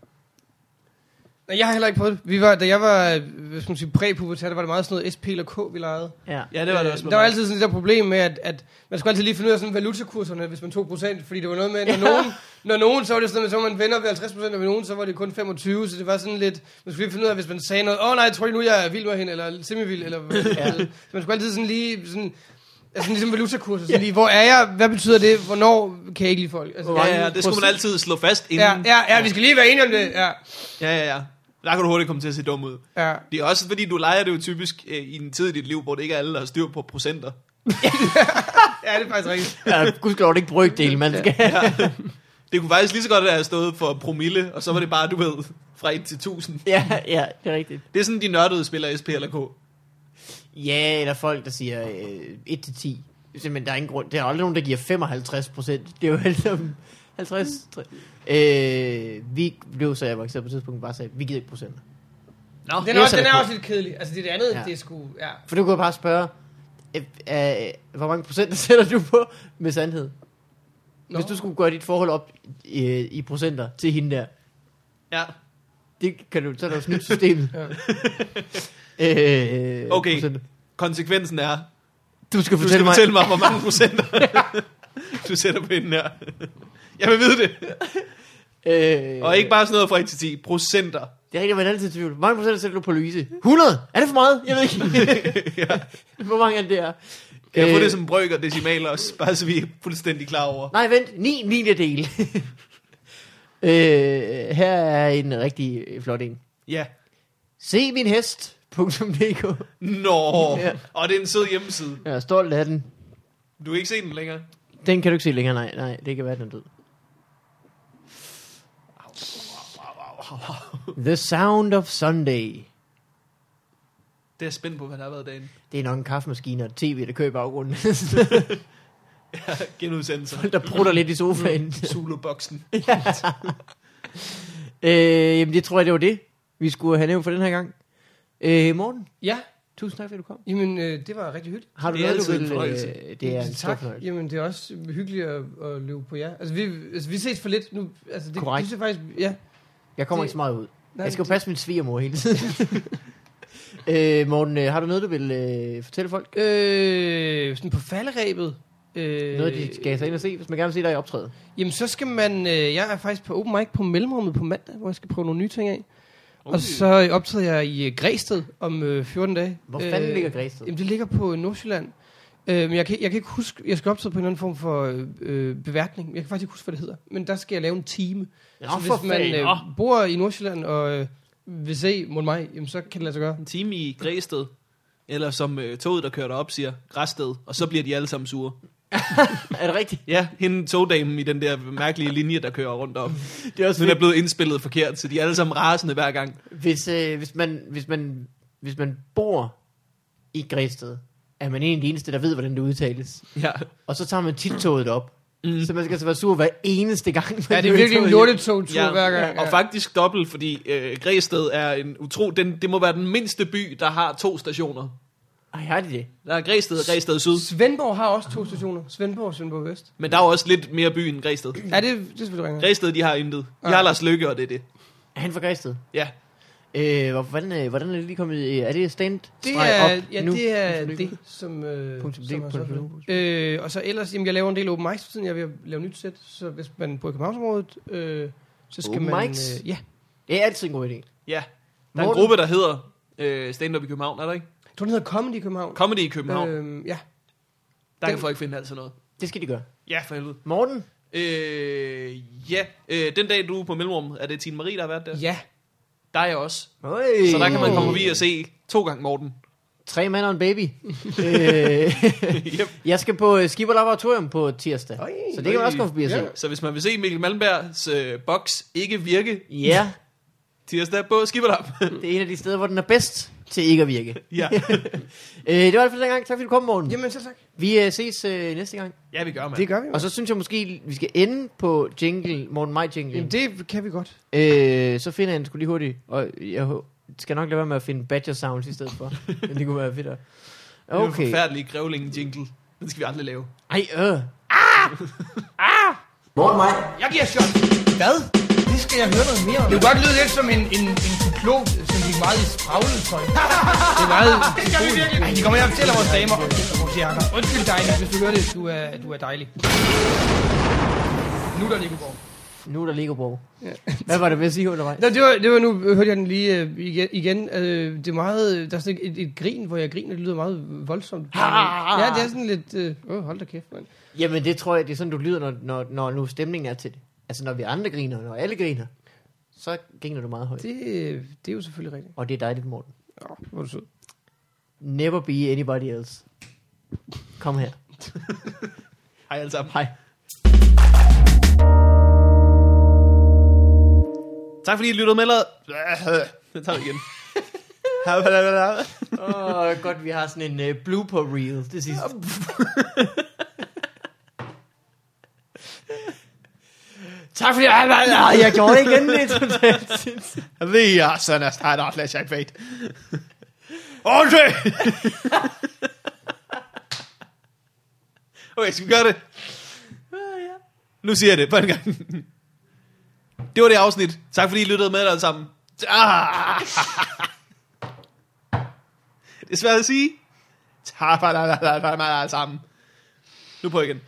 Nej, jeg har heller ikke prøvet det. Vi var, da jeg var, øh, hvad skal man sige, præpubertær, der var det meget sådan noget SP eller K, vi legede.
Ja.
Ja, det var det også.
Øh,
med
der var
mig.
altid sådan et der problem med, at, at man skulle altid lige finde ud af sådan valutakurserne, hvis man tog procent, fordi det var noget med, når, nogen, når nogen, så var det sådan, at så var man venner ved 50 procent, og ved nogen, så var det kun 25, så det var sådan lidt, man skulle lige finde ud af, hvis man sagde noget, åh oh, nej, tror ikke nu, jeg er vild med hende, eller semivild, eller
Ja.
så man skulle altid sådan lige, sådan, altså ligesom valutakurser, sådan lige, hvor er jeg, hvad betyder det, hvornår kan jeg ikke lide folk? Altså,
Ja, ja, det skulle man altid slå fast
Ja,
inden.
ja, ja, vi skal lige være enige om det, ja,
Ja, ja, ja. Der kan du hurtigt komme til at se dum ud.
ja.
Det er også fordi, du leger det jo typisk øh, i en tid i dit liv, hvor det ikke er alle, der har styr på procenter.
Ja, det er faktisk rigtigt.
ja gudskelov, det er ikke brygdel, man skal.
Det kunne faktisk lige så godt have stået for promille, og så var det bare, du ved, fra 1 til 1000.
ja, ja, det er rigtigt.
Det er sådan, de nørdede spiller SP eller K.
Ja, eller folk, der siger øh, 1-10. Simpelthen, der er ingen grund. Der er aldrig nogen, der giver 55 procent. Det er jo alt sammen 50. tre- Øh, vi blev så jeg var på et tidspunkt bare sagde, vi gider ikke procenter.
Nå,
Den
Det
er,
er
også, den
sådan,
er
det-
også lidt kedelig. Altså det, det andet,
Ja.
ja. det er sgu, ja.
For du kunne bare spørge, øh, øh, hvor mange procenter sætter du på med sandhed? Nå.
Nå.
Hvis du skulle gøre dit forhold op øh, i procenter til hende der,
Ja,
det kan du, så er der jo snydt systemet.
Ja.
øh,
Okay.
procenter.
konsekvensen er,
Du skal
du
fortælle
skal
mig.
fortælle mig, hvor mange procenter du sætter på den her. Jeg vil vide det.
Øh,
Og ikke bare sådan noget fra 1 til 10. Procenter.
Det er rigtigt, man er altid i tvivl. Hvor mange procent sætter du på Louise? 100? Er det for meget? Jeg ved ikke. Hvor mange er det, det er?
Kan jeg få
Øh,
det som brøk og decimaler også, bare så vi er fuldstændig klar over.
Nej, vent. 9 9. del. øh, her er en rigtig øh, flot en.
Ja.
Se min hest. .dk.
Nå,
Ja.
og det er en sød hjemmeside.
Jeg er stolt af den.
Du kan ikke se den længere.
Den kan du ikke se længere. Nej, nej, det kan være, den er død. The Sound of Sunday.
Det er jeg spændt på, hvad der har været dagen.
Det er nok en kaffemaskine og et tv, der kører i baggrunden.
Genudsendelser.
der prutter lidt i sofaen.
Zulu-boksen.
Øh, jamen, det tror jeg, det var det, vi skulle have nævnt for den her gang. Øh, Morten,
Ja,
tusind tak, fordi du kom.
jamen øh, det var rigtig hyggeligt.
Har du
Det er
noget, du
altid en
vil...
fornøjelse.
Øh, det er en stor
tak.
fornøjelse.
Jamen, det er også hyggeligt at, at løbe på jer. Altså, vi, altså, vi ses for lidt nu. Altså, det,
Korrekt.
Du ser faktisk, ja.
Jeg kommer
Det-
ikke så meget ud.
Nej,
jeg skal jo
det-
passe min svigermor hele tiden. øh, Morten, øh, har du noget, du vil øh, fortælle folk?
Øh, sådan på falderæbet. Øh,
Noget, de skal sig ind og se, hvis man gerne vil se dig i optræde.
Jamen, så skal man... Øh, jeg er faktisk på open mic på mellemrummet på mandag, hvor jeg skal prøve nogle nye ting af. Okay. Og så optræder jeg i øh, Græsted om øh, 14 dage. Øh,
Hvor fanden ligger Græsted?
Jamen, det ligger på Nordsjælland. Øh, men jeg kan, jeg kan ikke huske... Jeg skal optræde på en eller anden form for øh, beværtning. Jeg kan faktisk ikke huske, hvad det hedder. Men der skal jeg lave en time.
Nå,
så
for
hvis man
fanden,
øh,
nå.
bor i Nordsjælland og øh, vil se mod mig, jamen, så kan det lade sig gøre.
En time i Græsted, eller som øh, toget, der kører derop, siger, Græsted, og så bliver de alle sammen sure.
Er det rigtigt?
Ja, hende togdamen i den der mærkelige linje, der kører rundt om.
Det er også
Hun
øh,
er blevet indspillet forkert, så de er alle sammen rasende hver gang.
Hvis, øh, hvis, man, hvis, man, hvis man bor i Græsted, er man en af de eneste, der ved, hvordan det udtales.
Ja.
Og så tager man tit toget op. Mm. Så man skal altså være sur hver eneste gang. Man
Ja, det er
kører
virkelig en
toget
lortetogtur
Ja,
ja, hver gang.
Og faktisk dobbelt, fordi øh, Græsted er en utro... Den, det må være den mindste by, der har to stationer.
hjem. Ej, har de det?
Der er Græsted og Græsted Syd,
Svendborg har også to stationer. Svendborg og Svendborg Vest.
men der er jo også lidt mere by end Græsted.
Ja, det, det er selvfølgelig rigtigt.
Græsted, de har intet. De har
Ja.
Lars Lykke, og det er det.
Er han fra Græsted?
Ja.
Øh, hvor- hvordan, øh, hvordan er det lige kommet? i- Er det stand
Det
streg
er,
op
ja,
nu?
det, er
Punktum
det, som, øh,
Punktum
som
D,
er
punktum
sådan.
nu.
øh, Og så ellers, jamen, jeg laver en del open mics, for tiden jeg vil lave nyt sæt, så hvis man bor i Københavnsområdet, øh, så skal
Open
man...
mics?
Øh, ja.
Det er altid en god idé.
Ja. Der er en
Morten?
gruppe, der hedder øh, Stand Up i København, er der ikke?
Jeg tror, den hedder Comedy i København.
Comedy i København. Øh,
Øhm, ja.
der kan
den-
folk finde alt sådan noget.
Det skal de gøre.
Ja, for helvede.
Morten,
Øh, ja. Øh, den dag, du er på Mellemrum, er det Tine Marie, der har været der?
Ja.
Der er jeg også.
Øj.
Så der kan man komme forbi og se to gange Morten.
Tre mænd og en baby. øh,
yep.
jeg skal på øh, Skipper Laboratorium på tirsdag.
Øj.
så det kan man også komme forbi og se.
Ja.
Så hvis man vil se Mikkel Malmbergs øh, boks ikke virke
Ja,
tirsdag på Skibberlap.
det er en af de steder, hvor den er bedst til ikke at virke.
ja.
Øh, det var det for den gang. Tak fordi du kom, Morten.
Jamen, selv tak.
Vi øh, ses øh, næste gang.
ja, vi gør, mand.
Det gør vi,
Og
man.
så synes jeg måske, vi skal ende på jingle, Morten Maj jingle.
Jamen, det kan vi godt.
Øh, så finder jeg den sgu lige hurtigt. Og jeg hå- skal nok lade være med at finde Badger Sounds i stedet for. Men det kunne være fedt.
Det er jo en
Okay.
forfærdelig grævling jingle. Den skal vi aldrig lave.
Ej, øh.
Morgen mig.
Jeg giver shot. Hvad? Det skal jeg høre noget mere om. Det kunne godt lyde lidt som en, en, en klog, som gik meget i spraglet tøj. det er meget... det gør vi virkelig. Ej, de kommer her og fortæller vores damer og vores jakker. Undskyld dig, Nick, hvis du hører det. Du er, du er dejlig. Nu er der Nicoborg.
Nu er der Legoborg. Hvad var det ved at sige undervejs?
Nå, det var, det var nu, hørte jeg den lige øh, igen. igen. Øh, det er meget, øh, der er sådan et, et, et grin, hvor jeg griner, det lyder meget voldsomt. Ja, det er sådan lidt, øh, åh, hold da kæft, mand.
Jamen, det tror jeg, det er sådan, du lyder, når, når, når nu stemningen er til det. Altså, når vi andre griner, når alle griner, så griner du meget højt.
Det, øh, det er jo selvfølgelig rigtigt.
Og det er dejligt, Morten.
Åh, hvor er du sød.
Never be anybody else. Kom her.
Hej alle sammen.
Hej.
Tak fordi I lyttede med. eller- Det tager vi igen.
Åh, oh, godt, vi har sådan en uh, blooper reel til sidst. tak fordi jeg gjorde det igen. Det er totalt sindssygt.
Vi er sådan, at der er flash af fate. Okay! Okay, skal vi gøre det? Nu siger jeg det på en gang. Det var det afsnit. Tak fordi I lyttede med alle sammen. Ah. Det er svært at sige. Tak for alle sammen. Nu prøver jeg igen.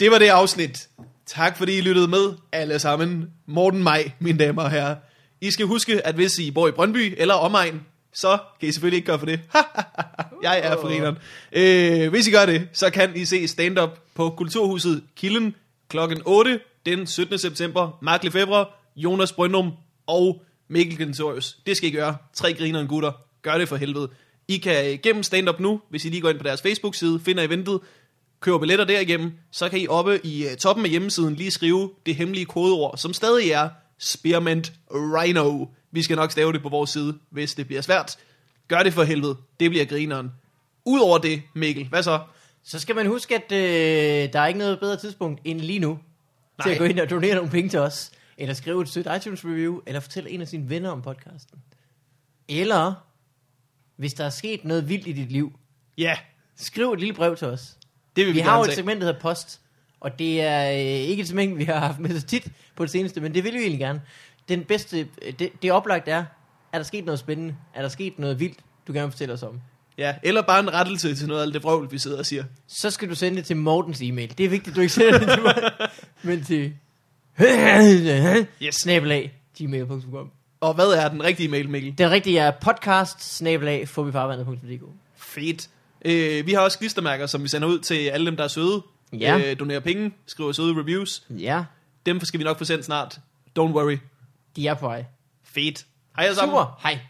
Det var det afsnit. Tak fordi I lyttede med alle sammen. Morten Maj, mine damer og herrer. I skal huske, at hvis I bor i Brøndby eller omegn, så kan I selvfølgelig ikke gøre for det. jeg er foreneren. Øh, hvis I gør det, så kan I se stand-up på Kulturhuset Kilden kl. 8 den 17. september. Mark Lefebvre, Jonas Brøndum og Mikkel Gensorius. Det skal I gøre. Tre griner en gutter. Gør det for helvede. I kan gennem stand-up nu, hvis I lige går ind på deres Facebook-side, finder eventet, køber billetter derigennem, så kan I oppe i øh, toppen af hjemmesiden lige skrive det hemmelige kodeord, som stadig er Spearmint Rhino. Vi skal nok stave det på vores side, hvis det bliver svært. Gør det for helvede. Det bliver grineren. Udover det, Mikkel, hvad så?
Så skal man huske, at øh, der er ikke noget bedre tidspunkt end lige nu, Nej. til
Nej.
at gå ind og donere nogle penge til os. eller skrive et sødt iTunes review, eller fortælle en af sine venner om podcasten. Eller, hvis der er sket noget vildt i dit liv,
Ja,
skriv et lille brev til os.
det vil vi,
Vi
vi
har jo
gerne
et
tage.
segment, der hedder post, og det er øh, ikke et segment, vi har haft med så tit på det seneste, men det vil vi egentlig gerne. Den bedste, øh, det, det oplagt er, er der sket noget spændende? Er der sket noget vildt, du gerne vil fortælle os om?
Ja, eller bare en rettelse til noget af alt det vrøvl, vi sidder og siger.
Så skal du sende det til Mortens e-mail. Det er vigtigt, du ikke sender det til mig, men til
Yes.
snabelag gmail.com.
Og hvad er den rigtige mail, Mikkel?
Den rigtige er podcast snabelag forbifarvandet.dk.
Fedt. Øh, vi har også klistermærker, som vi sender ud til alle dem, der er søde.
Ja.
Øh, donerer penge, skriver søde reviews.
Ja,
Dem skal vi nok få sendt snart. Don't worry.
de er på vej.
Fedt. Hej alle sammen.
Super, hej.